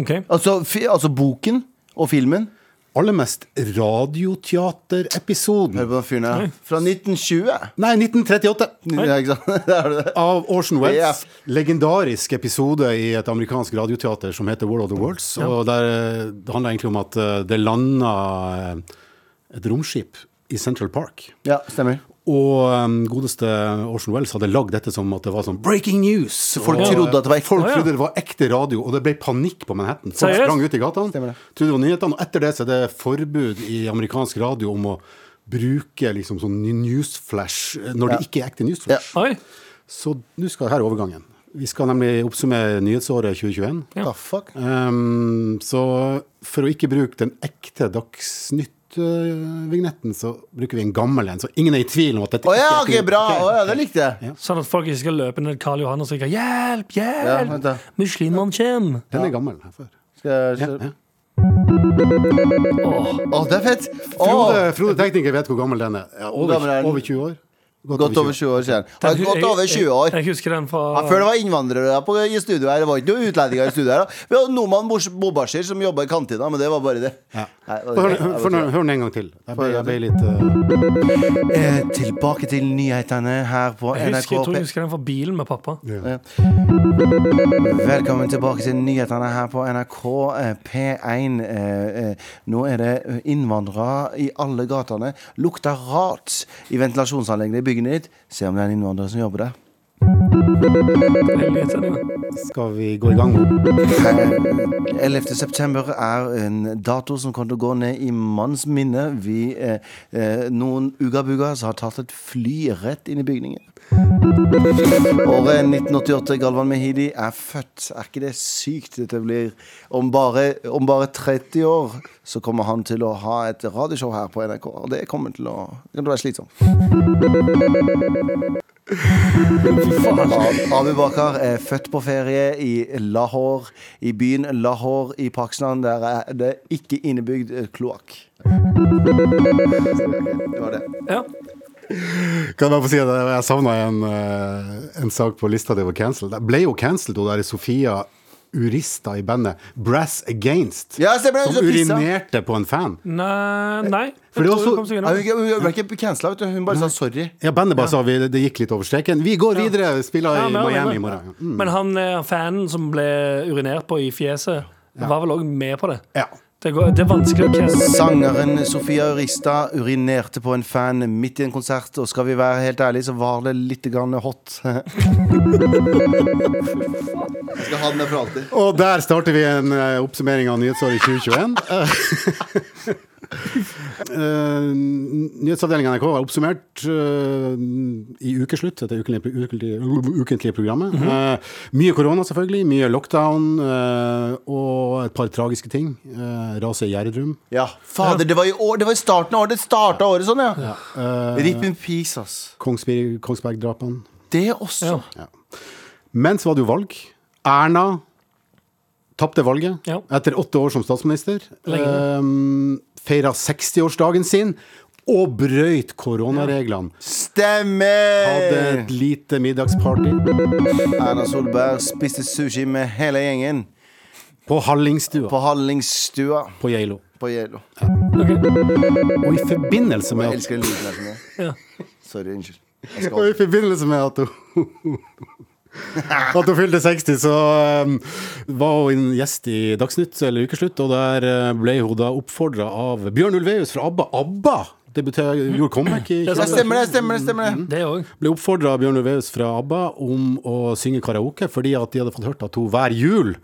Speaker 3: Ok.
Speaker 2: Altså, fi, altså boken og filmen.
Speaker 5: aller mest radioteaterepisoden.
Speaker 2: Hør på den fyren her. Fra 1920.
Speaker 5: Nei, 1938.
Speaker 2: Ja, ikke sant? Der er det.
Speaker 5: Av Orson Welles
Speaker 2: Ja.
Speaker 5: legendarisk episode i et amerikansk radioteater som heter World of the Worlds. Og der, eh, Det handler egentlig om at eh, det landa eh, et romskip i Central Park.
Speaker 2: Ja, stemmer.
Speaker 5: Og eh, godeste Orson Welles hadde lagd dette som at det var sånn breaking news.
Speaker 2: Folk
Speaker 5: og,
Speaker 2: trodde at det var ekte.
Speaker 5: Folk
Speaker 3: Å, ja.
Speaker 5: trodde det var ekte radio, og det ble panikk på Manhattan. Folk
Speaker 3: Seriøst?
Speaker 5: sprang ut i gatene,
Speaker 2: Stemmer det.
Speaker 5: trodde det var nyhetene. Og etter det så er det forbud i amerikansk radio om å bruke liksom sånn newsflash eh, når det ikke er ekte newsflash.
Speaker 3: Oi.
Speaker 5: Så nå skal her er overgangen. Vi skal nemlig oppsummere nyhetsåret 2021.
Speaker 2: The fuck?
Speaker 5: Ehm, så for å ikke bruke den ekte Dagsnytt-vignetten, så bruker vi en gammel en, så ingen er i tvil om at dette
Speaker 2: Å ja, ok,
Speaker 5: ikke er
Speaker 2: bra. Å ja, det likte jeg.
Speaker 3: Sånn at folk ikke skal løpe ned Karl Johan og skrike 'hjelp,
Speaker 2: vent
Speaker 3: hjelp'!
Speaker 2: da.
Speaker 3: Muslimene kommer!
Speaker 5: Den er gammel her før.
Speaker 2: Skal jeg-
Speaker 5: Ja.
Speaker 2: Å, det er fett!
Speaker 5: Frode,
Speaker 2: Å,
Speaker 5: Frode tekniker vet hvor gammel den er. Ja, over,
Speaker 2: Gammel er den.
Speaker 5: over 20 år.
Speaker 2: godt over 20 år, sier han. Han er Godt over 20 år.
Speaker 3: Jeg, jeg husker den fra
Speaker 2: Ja, før det var innvandrere på, i studio her. Det var ikke noen utlendinger i studio her. da. Vi hadde nordmann Bors- Bobasjer som jobba i kantina, men det var bare det. Nei, det var
Speaker 5: Hør,
Speaker 2: greit.
Speaker 5: hør,
Speaker 2: Det var
Speaker 5: hør,
Speaker 2: greit.
Speaker 5: hør den en gang til. Jeg ble, jeg ble litt eh,
Speaker 2: Eh, tilbake til nyhetene her på
Speaker 3: jeg,
Speaker 2: NRK
Speaker 3: husker, jeg tror jeg
Speaker 2: P-
Speaker 3: husker den fra bilen med pappa.
Speaker 2: Velkommen tilbake til nyhetene her på NRK eh, P1. Eh, eh, Nå er det innvandrere i alle gatene. Lukter rart i ventilasjonsanleggene i bygget ditt. Se om det er en innvandrer som jobber der.
Speaker 3: Veldig irriterende.
Speaker 5: Skal vi gå i gang nå?
Speaker 2: 11. september er en dato som kommer til å gå ned i manns minne. Vi, eh, eh, noen ugabugas har tatt et fly rett inn i bygningen. Året 1988, Galvan Mehidi er født. Er ikke det sykt dette blir? Om bare, om bare 30 år så kommer han til å ha et radioshow her på NRK. Og det kommer til å det kommer til å være slitsomt.
Speaker 3: Fy faen.
Speaker 2: Ab- Abu Bakar er født på ferie i Lahore, i byen Lahore i Pakistan. Der er det ikke innebygd eh, kloakk. Det var det.
Speaker 3: Ja.
Speaker 5: Kan jeg bare få si at jeg savna en, eh, en sak på lista det var cancelled. Det ble jo cancelled, hun der Sofia Urista i bandet Brass Against.
Speaker 2: Ja, stemmer det,
Speaker 5: som
Speaker 2: hun som pissa.
Speaker 5: urinerte på en fan.
Speaker 3: Nei, nei. Jeg
Speaker 5: For det er
Speaker 3: tror
Speaker 5: også-
Speaker 3: kom seg
Speaker 2: Nei,
Speaker 3: unna.
Speaker 2: Hun hun- hun ble ikke cancela, vet du. Hun bare sa sorry.
Speaker 5: Ja, Bandet bare sa vi, det gikk litt over streken. Vi går videre, spiller
Speaker 3: Ja,
Speaker 5: i
Speaker 3: men-
Speaker 5: Miami i
Speaker 3: men-
Speaker 5: morgen. Mm.
Speaker 3: Men han eh, fanen som ble urinert på i fjeset, var vel òg med på det.
Speaker 5: Ja.
Speaker 3: Det, går, det er vanskelig å cancele.
Speaker 2: Sangeren Sofia Urista urinerte på en fan midt i en konsert, og skal vi være helt ærlige, så var det litt grann hot. Jeg skal ha den der for alltid.
Speaker 5: Og der starter vi en eh, oppsummering av nyhetsåret 2021. Eh, Nyhetsavdelingen NRK har oppsummert eh, i ukeslutt, dette ukentlige, ukentlige, ukentlige programmet. Eh, mye korona, selvfølgelig. Mye lockdown. eh, og et par tragiske ting. Eh, Raset i Gjerdrum.
Speaker 2: Ja, fader, det var i år, det var i starten av året. Det starta året sånn, ja.
Speaker 5: eh,
Speaker 2: Rip in peace, ass.
Speaker 5: Kongsberg, Kongsberg-drapene.
Speaker 2: Det også.
Speaker 3: Ja.
Speaker 5: Men så var det jo valg. Erna tapte valget
Speaker 3: Ja.
Speaker 5: etter åtte år som statsminister. Um, Feira 60-årsdagen sin og brøyt koronareglene. Hadde
Speaker 2: Stemmer!
Speaker 5: et lite middagsparty
Speaker 2: Erna Solberg spiste sushi med hele gjengen
Speaker 5: på Hallingstua
Speaker 2: på Hallingstua
Speaker 5: på Geilo.
Speaker 2: på Geilo.
Speaker 3: Ok.
Speaker 5: Og i forbindelse
Speaker 2: Jeg
Speaker 5: med at
Speaker 2: elsker den lyden her. som er.
Speaker 3: Ja.
Speaker 2: Sorry, unnskyld. Jeg skal
Speaker 5: Og i
Speaker 2: holde.
Speaker 5: forbindelse med at hun At hun fylte 60, så um, var hun en gjest i Dagsnytt eller Ukeslutt, og der eh, ble hun da oppfordra av Bjørn Ulveus fra ABBA. ABBA! Debuter, gjorde comeback i
Speaker 3: Det er
Speaker 2: Ja, stemmer det, stemmer det. stemmer det
Speaker 3: Det òg.
Speaker 5: ble oppfordra av Bjørn Ulvaeus fra ABBA om å synge karaoke, fordi at de hadde fått hørt at hun hver jul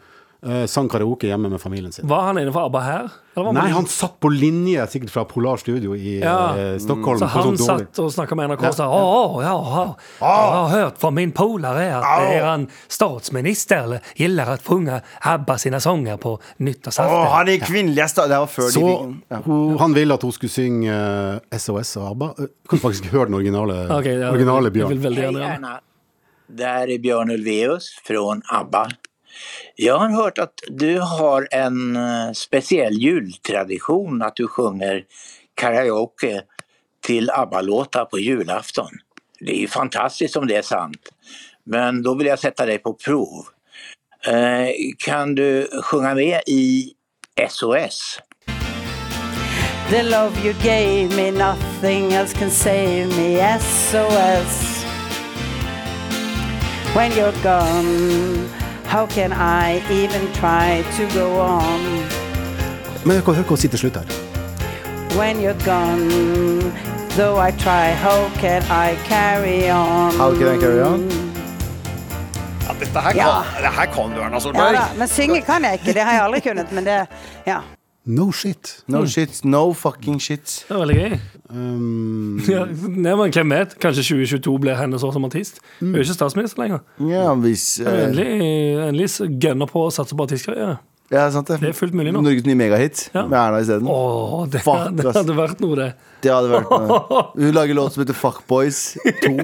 Speaker 5: eh, sang karaoke hjemme med familien sin.
Speaker 3: Var han inne for ABBA her? Eller var
Speaker 5: Nei, han satt på linje sikkert fra Polar Studio i
Speaker 3: Ja.
Speaker 5: eh, Stockholm.
Speaker 3: Så
Speaker 5: på
Speaker 3: han
Speaker 5: sånn dårlig-
Speaker 3: satt og snakka med NRK og sa Å, å, ja, å, jeg har hørt fra min polare at er statsminister eller gillar at sjunga ABBA sine sanger på
Speaker 2: Å,
Speaker 3: nyttårsaften.
Speaker 2: han er kvinnelig ass, da. Det var før de
Speaker 5: Så
Speaker 2: fikk den. Ja.
Speaker 5: hun, han ville at hun skulle synge eh, SOS av ABBA. Eh, Kan faktisk høre den originale,
Speaker 3: Ok, ja,
Speaker 5: originale
Speaker 3: jeg
Speaker 5: Bjørn.
Speaker 3: vil veldig
Speaker 6: Hej
Speaker 3: gjerne gjøre det.
Speaker 6: Erna. Det här är Björn Ulvaeus från ABBA. Jag har hört att du har en eh, speciell jultradition att du sjunger karaoke till ABBA-låtar på julafton. Det är ju fantastiskt om det är sant. Men då vill jag sätta dig på prov. Eh, Kan du sjunga med i SOS?
Speaker 7: The love you gave me, nothing else can save me. SOS. When you're gone, how can I even try to go on?
Speaker 5: Men hør hva- hør hva hun sier til slutt her.
Speaker 7: When you're gone, though I try, how can I carry on?
Speaker 2: How can I carry on?
Speaker 8: Ja, dette her
Speaker 7: Ja.
Speaker 8: kan, det her kan du, Erna
Speaker 7: Ja
Speaker 8: Solberg.
Speaker 7: da, men synge kan jeg ikke, det har jeg aldri kunnet, men det, ja.
Speaker 5: No shit.
Speaker 2: No shit, no fucking shit.
Speaker 3: Det er veldig gøy.
Speaker 5: Um,
Speaker 3: Ja, nei, men hvem vet? Kanskje 2022 blir hennes år som artist? Hun
Speaker 2: Mm.
Speaker 3: er jo ikke statsminister lenger.
Speaker 2: Ja, hvis
Speaker 3: Hun
Speaker 2: eh,
Speaker 3: Endelig, endelig så gønner på å satse på artistkarriere.
Speaker 2: Ja, sant det.
Speaker 3: Det er fullt mulig nå.
Speaker 2: Norges nye megahit
Speaker 3: Ja.
Speaker 2: med Erna isteden.
Speaker 3: Åh, det,
Speaker 2: Fuck,
Speaker 3: det
Speaker 2: ass.
Speaker 3: hadde vært noe, det.
Speaker 2: Det hadde vært eh, Hun lager låt som heter Fuckboys 2.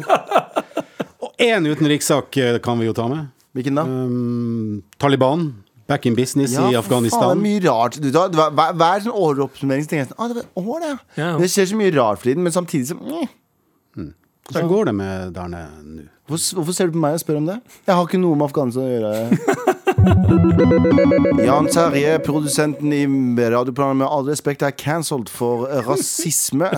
Speaker 5: og én utenrikssak eh, kan vi jo ta med.
Speaker 2: Hvilken da?
Speaker 5: Um, Taliban, back in business i
Speaker 2: for Faen,
Speaker 5: Afghanistan.
Speaker 2: det er mye rart. Du, da, det var- hver, hver sånn åroppsummering så tenker jeg sånn ah, det var et år, det. ja."
Speaker 3: Ja.
Speaker 2: Det skjer så mye rart for tiden, men samtidig så eh,
Speaker 5: Hvordan går det med der nede nå?
Speaker 2: hvorfor, hvorfor ser du på meg og spør om det? Jeg har ikke noe med Afghanistan å gjøre. Jan Terje, produsenten i radioprogrammet Med all respekt, er cancelled for rasisme.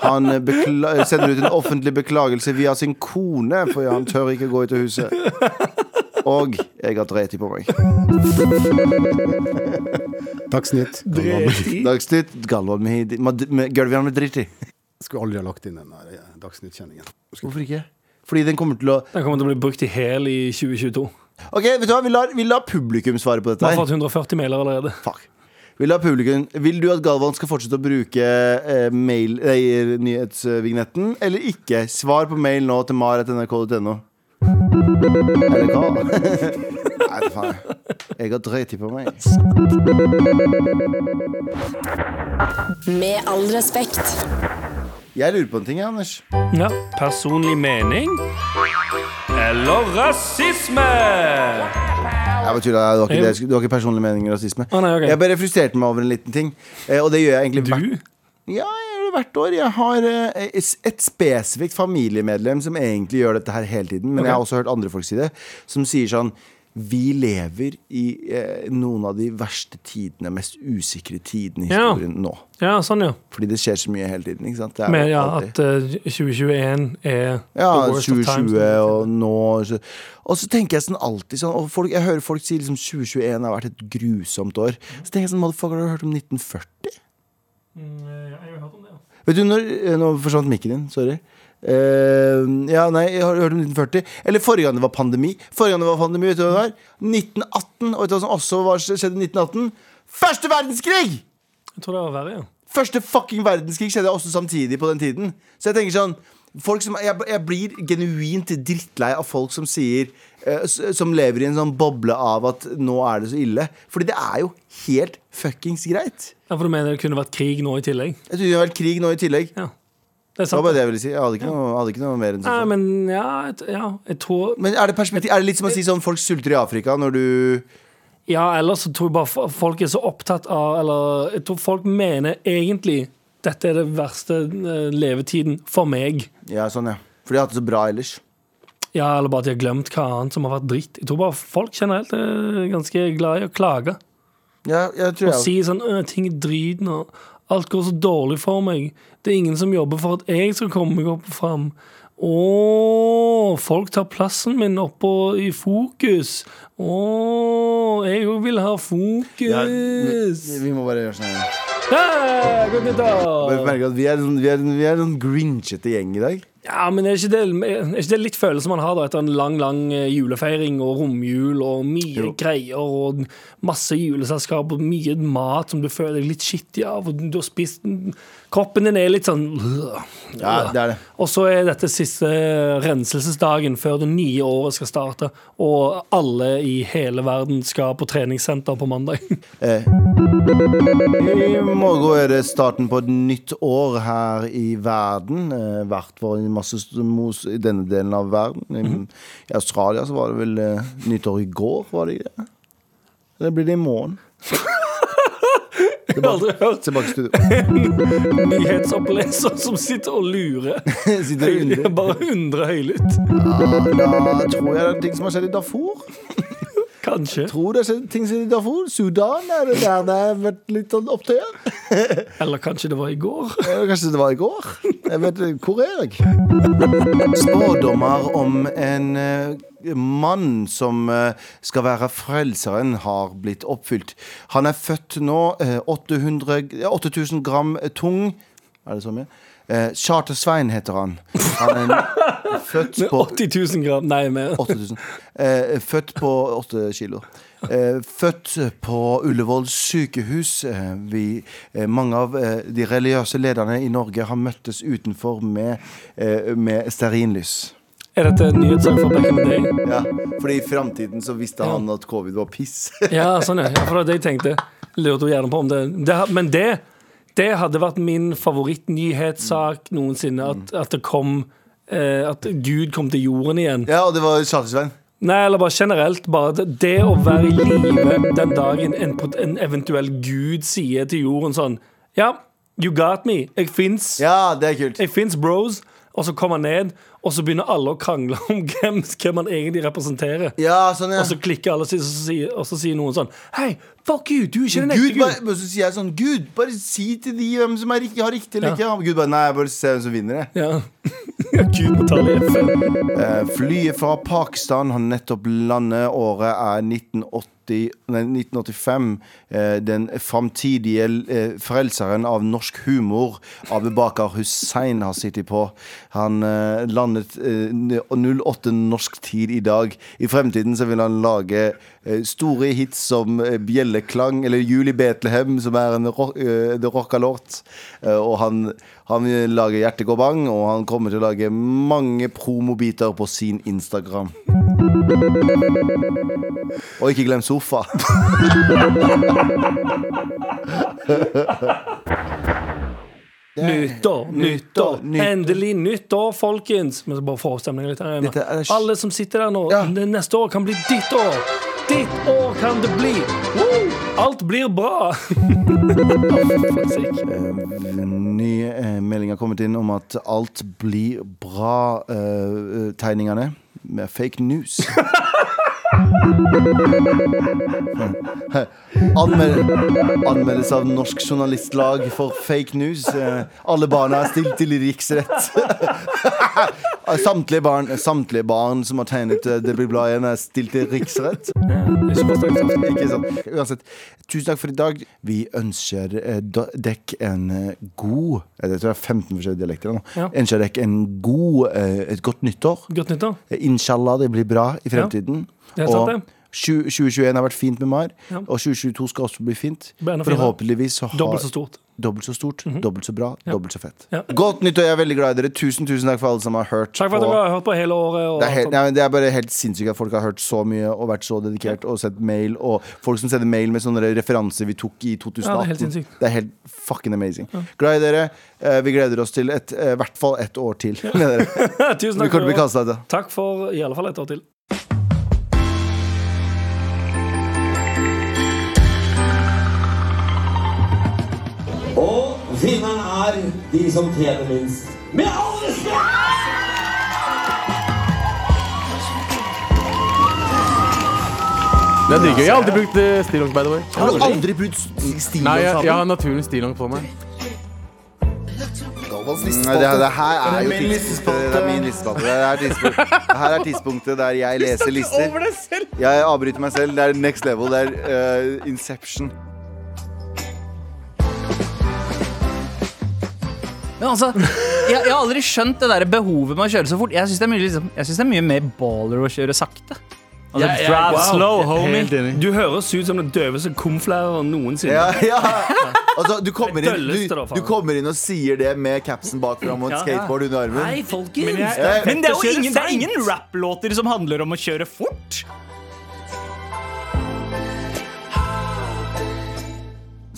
Speaker 2: Han bekla sender ut en offentlig beklagelse via sin kone, for han tør ikke gå ut av huset. Og jeg har dreti på meg.
Speaker 5: Dagsnytt.
Speaker 2: Dagsnytt, Galvan med, med, med Gulvian med dritt i.
Speaker 5: Skulle aldri ha lagt inn den der eh, Dagsnytt-kjenningen.
Speaker 2: Hvorfor ikke? Fordi den kommer til å
Speaker 3: Den kommer til å bli brukt i hæl i 2022.
Speaker 2: Ok, vet du hva? Vi lar, vi lar publikum svare på dette.
Speaker 3: Vi har
Speaker 2: her
Speaker 3: fått 140 mailer allerede.
Speaker 2: Fuck. Vi lar publikum Vil du at Galvan skal fortsette å bruke eh, mail, nei, nyhetsvignetten eller ikke? Svar på mail nå til mar.nrk.no. Eller hva? Nei, faen. Jeg har drøyt i på meg.
Speaker 4: Med all respekt.
Speaker 2: Jeg lurer på en ting, jeg, Anders.
Speaker 3: Ja. Personlig mening eller rasisme?
Speaker 2: Jeg bare tuller, det var ikke, det. jeg skulle- det var ikke personlig mening i rasisme.
Speaker 3: Å, nei, ok.
Speaker 2: Jeg bare frustrerte meg over en liten ting, eh, og det gjør jeg egentlig
Speaker 3: Du?
Speaker 2: hvert Ja, jeg gjør det hvert år. Jeg har eh, et spesifikt familiemedlem som egentlig gjør dette her hele tiden, men jeg har også hørt andre folk si det, som sier sånn vi lever i eh, noen av de verste tidene, mest usikre tidene i
Speaker 3: Ja.
Speaker 2: historien nå.
Speaker 3: Ja, sånn, ja.
Speaker 2: Fordi det skjer så mye hele tiden. ikke sant? Det er
Speaker 3: Men ja,
Speaker 2: alltid-
Speaker 3: at eh, 2021 er
Speaker 2: ja,
Speaker 3: the worst of
Speaker 2: 2020
Speaker 3: times.
Speaker 2: og nå så- Og så tenker jeg sånn alltid sånn og folk, Jeg hører folk si liksom 2021 har vært et grusomt år. Så tenker jeg sånn, motherfucker, har du hørt om 1940? Vet du når eh, Nå forsvant mikken din, sorry. Eh, ja, nei, jeg har hørt om 1940. Eller forrige gang det var pandemi. Forrige gang det var pandemi, vet du hva det var? 1918. Og vet du hva som også var, skjedde i 1918? Første verdenskrig!
Speaker 3: Jeg tror det var verre, ja.
Speaker 2: Første fucking verdenskrig skjedde også samtidig på den tiden. Så jeg tenker sånn folk som, jeg, jeg blir genuint drittlei av folk som sier eh, s- Som lever i en sånn boble av at nå er det så ille. Fordi det er jo helt fuckings greit.
Speaker 3: Ja, For du mener det kunne vært krig nå i tillegg?
Speaker 2: Jeg trodde det var krig nå i tillegg.
Speaker 3: Ja.
Speaker 2: Det
Speaker 3: Det er
Speaker 2: var
Speaker 3: sant.
Speaker 2: bare det jeg ville si. Jeg hadde ikke noe, hadde ikke noe mer enn
Speaker 3: Nei,
Speaker 2: sånn.
Speaker 3: men ja, jeg t- ja, jeg tror
Speaker 2: Men er det, perspektiv, er det litt som å si sånn folk sulter i Afrika når du
Speaker 3: Ja, ellers så tror jeg bare fo- folk er så opptatt av Eller jeg tror folk mener egentlig dette er det verste eh, levetiden for meg.
Speaker 2: Ja, sånn, ja. For de har hatt det så bra ellers.
Speaker 3: Ja, Eller bare at de har glemt hva annet som har vært dritt. Jeg tror bare folk generelt er ganske glad i å klage.
Speaker 2: Ja, jeg tror
Speaker 3: Og
Speaker 2: jeg
Speaker 3: si sånn «Øh, ting er drit nå. Alt går så dårlig for meg. Det er ingen som jobber for at jeg skal komme meg opp og fram. Å, folk tar plassen min oppå i fokus. Å, jeg òg vil ha
Speaker 2: Ja,
Speaker 3: fokus.
Speaker 2: vi, vi må bare gjøre sånn. her.
Speaker 3: Hei, godt
Speaker 2: Bare
Speaker 3: nyttår!
Speaker 2: merke at vi er en sånn, vi er en- vi er en sånn grinchete gjeng i dag.
Speaker 3: Ja, men er ikke, det, er ikke det litt følelsen man har da etter en lang lang eh, julefeiring og romjul og mye greier og masse juleselskap og mye mat som du føler deg litt skittig av, og du har spist Kroppen din er litt sånn
Speaker 2: Ja, det er det.
Speaker 3: Og så er dette siste renselsesdagen før det nye året skal starte, og alle i hele verden skal på treningssenter på mandag.
Speaker 2: Eh, Vi må gå er det starten på et nytt år her i verden. Eh, Hvert vår i masse st- mos i denne delen av verden. I, I Australia så var det vel eh, nyttår i går, var det ikke det? Eller blir det i morgen?
Speaker 3: Jeg har aldri hørt
Speaker 2: Tilbake i studio.
Speaker 3: nyhetsoppleser som sitter og lurer.
Speaker 2: Sitter og undrer.
Speaker 3: Bare undre høylytt.
Speaker 2: Da tror jeg det er en ting som har skjedd i Darfur.
Speaker 3: Kanskje.
Speaker 2: Tror det er ting som de får. Sudan er det der det har vært litt sånn opptøyer.
Speaker 3: Eller kanskje det var i går.
Speaker 2: Eh, Kanskje det var i går? Jeg vet, hvor er jeg? Spådommer om en eh, mann som eh, skal være frelseren, har blitt oppfylt. Han er født nå eh, 800, g- 8000 gram tung. Er det så mye? Eh, Charter-Svein heter han. Han er en- født
Speaker 3: Med
Speaker 2: på
Speaker 3: 80 000 gram. Nei, mer.
Speaker 2: 8000. Eh, født på 8 kilo. Eh, født på Ullevål sykehus. Eh, vi, eh, mange av eh, de religiøse lederne i Norge har møttes utenfor med, eh, med stearinlys.
Speaker 3: Er dette en nyhetssak fra back in the day?
Speaker 2: Ja, fordi i framtiden så visste han at covid var piss.
Speaker 3: Ja, sånn er ja, for det. var det jeg tenkte. Lurte jo gjerne på om det, det ha- Men det, det hadde vært min favorittnyhetssak noensinne. At, at det kom eh, At Gud kom til jorden igjen.
Speaker 2: ja, og det var Charter-Svein.
Speaker 3: Nei, eller bare generelt. Bare det, det å være i live den dagen en, pot- en eventuell gud sier til jorden sånn Ja, you got me. Jeg fins.
Speaker 2: Ja, det er kult.
Speaker 3: Jeg fins, bros. Og så kommer han ned, og så begynner alle å krangle om hvem, hvem han egentlig representerer.
Speaker 2: Ja, sånn, ja.
Speaker 3: Og så klikker alle, og så sier, og så sier noen sånn Hei, fuck you, du er ikke den ekte
Speaker 2: Gud, bare,
Speaker 3: Gud.
Speaker 2: men så sier jeg sånn Gud, bare si til de hvem som er riktig, har riktig eller ikke.
Speaker 3: Ja.
Speaker 2: Gud bare Nei, jeg bare ser hvem som vinner, jeg.
Speaker 3: Ja. Gud må ta livet.
Speaker 2: Eh, Flyet fra Pakistan har nettopp landet. Året er 1980, nei, 1985. Eh, Den framtidige eh, frelseren av norsk humor, Abubakar Hussein, har sittet på. Han eh, landet eh, 08 norsk tid i dag. I fremtiden så vil han lage eh, store hits som eh, Bjelleklang eller Jul i Betlehem, som er en rock, eh, det rocka låt. Eh, Og han, han vil lage Hjertet går bang, og han kommer til å lage mange promobiter på sin Instagram. Og ikke glem sofa.
Speaker 3: Nyttår, nyttår,
Speaker 2: Nyttår.
Speaker 3: endelig nyttår, folkens. Men så bare få stemningen litt her
Speaker 2: Dette
Speaker 3: hjemme.
Speaker 2: er-
Speaker 3: Alle som sitter der nå,
Speaker 2: Ja.
Speaker 3: det neste år kan bli ditt år. Ditt år kan det bli. Woo! Alt blir bra.
Speaker 2: En ny eh, melding har kommet inn om at alt blir bra-tegningene med fake news. Anmeld, anmeldes av Norsk Journalistlag for fake news. Eh, alle barna er stilt til riksrett. Eh, samtlige, barn, samtlige barn som har tegnet eh, Det blir bra igjen, er stilt til riksrett. Ikke sant? Uansett, tusen takk for i dag. Vi ønsker eh, da- dekk en eh, god eh, Jeg tror det er 15 forskjellige dialekter nå.
Speaker 3: Ja.
Speaker 2: Ønsker dekk en god, eh, et godt nyttår.
Speaker 3: Godt nyttår.
Speaker 2: Eh, Inshallah, det blir bra i fremtiden.
Speaker 3: Det er sant, det.
Speaker 2: og 20- 2021 har vært fint med Mar,
Speaker 3: Ja.
Speaker 2: og 2022 skal også bli fint.
Speaker 3: blir enda finere.
Speaker 2: Forhåpentligvis så har
Speaker 3: Dobbelt så stort. Mhm.
Speaker 2: Dobbelt så stort, dobbelt så bra, dobbelt så fett.
Speaker 3: Ja.
Speaker 2: Godt nytt, og jeg er veldig glad i dere. Tusen, tusen takk for alle som har hørt.
Speaker 3: Takk for at
Speaker 2: på-
Speaker 3: dere har hørt på hele året. Og
Speaker 2: det er, helt,
Speaker 3: alt
Speaker 2: nei, men det er bare helt sinnssykt at folk har hørt så mye og vært så dedikert og sett mail. Og folk som sender mail med sånne referanser vi tok i 2018.
Speaker 3: Ja, det er helt sinnssykt.
Speaker 2: Det er helt fucking amazing. Glad i dere. Eh, Vi gleder oss til et, eh, i hvert fall ett år til med dere.
Speaker 3: sånt. Tusen
Speaker 2: Vi
Speaker 3: takk
Speaker 2: kommer til å
Speaker 3: for
Speaker 2: bli
Speaker 3: i år.
Speaker 2: kasta etter.
Speaker 3: Takk for i alle fall et år til.
Speaker 9: Og vinneren er de som tjener minst. Med all respekt!
Speaker 10: Det er dritgøy. Jeg har aldri brukt eh, stillongs, by the way.
Speaker 2: Har du aldri brukt st- stil
Speaker 10: Nei,
Speaker 2: og
Speaker 10: jeg,
Speaker 2: sammen?
Speaker 10: jeg har naturens stillongs på meg.
Speaker 2: Nei, Mm, det, det her er jo tidspunktet. Det er min listespalte. Det er tidspunktet. Det her er tidspunktet der jeg leser lister. Jeg avbryter meg selv. Det er next level. Det er eh, Inception.
Speaker 11: Men altså, jeg, jeg har aldri skjønt det der behovet med å kjøre så fort. Jeg syns det, er mye, liksom, jeg synes det er mye mer baller å kjøre sakte. Altså, drive slow, homie.
Speaker 10: Helt enig.
Speaker 3: Du høres ut som den døveste komflæreren noensinne.
Speaker 2: Ja, ja. Altså, du, kommer
Speaker 3: Det er
Speaker 2: inn,
Speaker 3: dølleste
Speaker 2: du,
Speaker 3: da, faen.
Speaker 2: du kommer inn og sier det med capsen bakfra og et
Speaker 11: Ja.
Speaker 2: skateboard under armen.
Speaker 11: Hei, folkens! Men,
Speaker 2: jeg-
Speaker 11: det
Speaker 3: Kjøre
Speaker 11: er jo ingen, det er
Speaker 3: seint.
Speaker 11: ingen rapplåter som handler om å kjøre fort.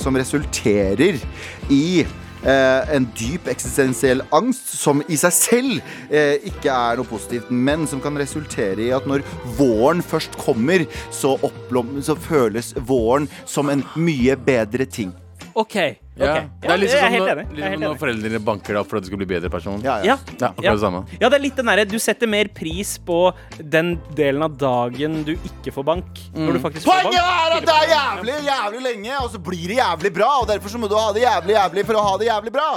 Speaker 2: Som resulterer i eh, en dyp eksistensiell angst som i seg selv eh, ikke er noe positivt, men som kan resultere i at når våren først kommer, så, oppblom- så føles våren som en mye bedre ting.
Speaker 11: Ok,
Speaker 10: Ja.
Speaker 11: Ok.
Speaker 10: Det er litt
Speaker 12: jeg er
Speaker 10: sånn
Speaker 12: helt
Speaker 10: når,
Speaker 12: enig. Jeg
Speaker 10: litt
Speaker 12: er
Speaker 10: sånn
Speaker 12: helt
Speaker 10: når
Speaker 12: enig.
Speaker 10: foreldrene dine banker deg opp for at du skal bli bedre person.
Speaker 12: Ja.
Speaker 10: ja akkurat
Speaker 12: Ja.
Speaker 10: det samme.
Speaker 12: Ja, det er litt den derre Du setter mer pris på den delen av dagen du ikke får bank.
Speaker 10: Mm.
Speaker 12: Når du faktisk får
Speaker 2: Poenget
Speaker 12: bank.
Speaker 2: er at det er jævlig, jævlig lenge, og så blir det jævlig bra. Og derfor så må du ha det jævlig, jævlig for å ha det jævlig bra.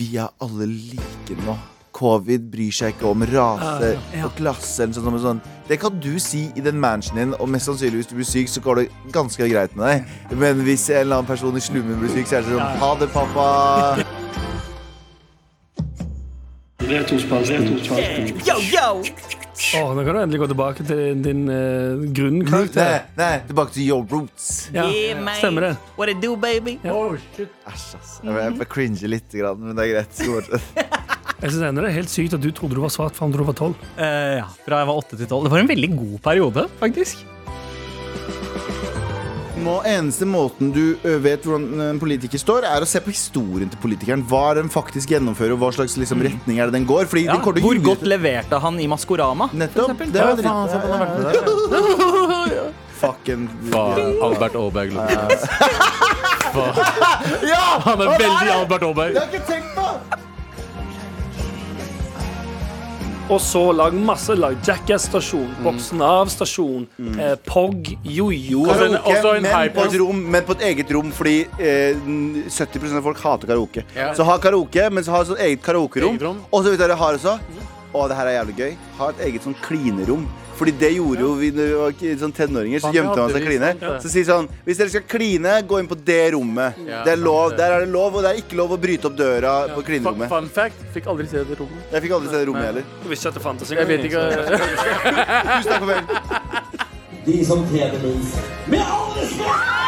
Speaker 2: Vi er alle like nå. Covid bryr seg ikke om rase
Speaker 13: Ja, ja.
Speaker 2: og klasse. Eller sånn, sånn. Det kan du si i den managen din, og mest sannsynlig hvis du blir syk, så går det ganske greit med deg. Men hvis en eller annen person i slummen blir syk, så er det sånn Ha det, pappa.
Speaker 12: Yo, yo!
Speaker 3: Åh, nå kan du endelig gå tilbake til din uh, grunnkarakter.
Speaker 2: Nei, nei, tilbake til your roots.
Speaker 3: Ja,
Speaker 12: Yeah, mate.
Speaker 3: stemmer det.
Speaker 12: What it do, baby?
Speaker 2: Æsj, ass. Jeg- Jeg får cringe litt, grann, men det er greit. Så går det.
Speaker 3: Jeg synes ennå det er helt sykt at du trodde du var svart fram til du var tolv.
Speaker 11: Eh, ja, Fra jeg var 8 til 12. Det var en veldig god periode, faktisk.
Speaker 2: Må, eneste måten du ø, vet hvordan en politiker står, er å se på historien til politikeren. Hva er den faktisk gjennomfører, og hva slags liksom, retning er det den går? Fordi
Speaker 11: Ja,
Speaker 2: den kommer til å
Speaker 11: hvor
Speaker 2: ljuge-
Speaker 11: godt leverte han i Maskorama?
Speaker 2: Nettopp.
Speaker 11: for eksempel?
Speaker 2: Det var
Speaker 11: Ja,
Speaker 2: dritt.
Speaker 11: faen, så han har vært med der, ja.
Speaker 2: Fucking
Speaker 10: Faen, Albert Aaberg. Faen.
Speaker 2: Ja!
Speaker 10: Han er
Speaker 2: Og det
Speaker 10: veldig
Speaker 2: det!
Speaker 10: Albert Aaberg.
Speaker 2: Det har jeg ikke tenkt på!
Speaker 3: Og så lag masse lag. Jackass-stasjon,
Speaker 2: Mm.
Speaker 3: Boksen Av-stasjon, eh, POG, jojo
Speaker 2: Karaoke, men på, et rom, men på et eget rom, fordi eh, 70 av folk hater karaoke.
Speaker 3: Ja.
Speaker 2: Så ha karaoke, men så ha et sånt eget karaokerom.
Speaker 10: Eget rom.
Speaker 2: Og så vet dere hva jeg har også. Å, det her er jævlig gøy. Ha et eget sånn klinerom. Fordi det gjorde jo vi når vi var k- sånn tenåringer. Så
Speaker 10: Faen, det
Speaker 2: gjemte man
Speaker 10: hadde
Speaker 2: seg
Speaker 10: vi,
Speaker 2: kline.
Speaker 10: sant det.
Speaker 2: Så si sånn Hvis dere skal kline, gå inn på det rommet.
Speaker 10: Ja,
Speaker 2: Det er lov,
Speaker 10: sant det.
Speaker 2: der er det lov, og det er ikke lov å bryte opp døra på
Speaker 10: Fun,
Speaker 2: klinerommet.
Speaker 10: fun fact, fikk aldri se det rommet.
Speaker 2: Jeg fikk aldri se det rommet
Speaker 10: Nei.
Speaker 2: heller.
Speaker 3: Du visste ikke at det fantes
Speaker 10: Jeg vet ikke
Speaker 2: Tusen takk for vel.
Speaker 9: De som tjener minst. Med all respekt!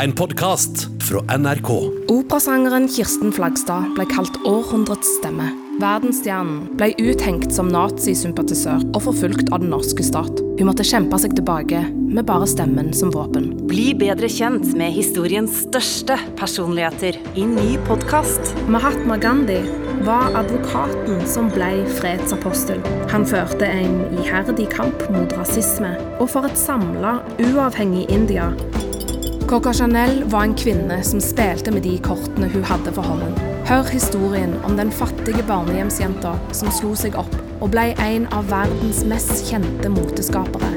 Speaker 14: En podkast fra NRK.
Speaker 15: Operasangeren Kirsten Flagstad ble kalt århundrets stemme. Verdensstjernen ble uthengt som nazisympatisør og forfulgt av den norske stat. Hun måtte kjempe seg tilbake med bare stemmen som våpen.
Speaker 1: Bli bedre kjent med historiens største personligheter i ny podkast.
Speaker 15: Mahatma Gandhi var advokaten som ble fredsapostel. Han førte en iherdig kamp mot rasisme og for et samla, uavhengig India. Coco Chanel var en kvinne som spilte med de kortene hun hadde for hånden. Hør historien om den fattige barnehjemsjenta som slo seg opp og ble en av verdens mest kjente moteskapere.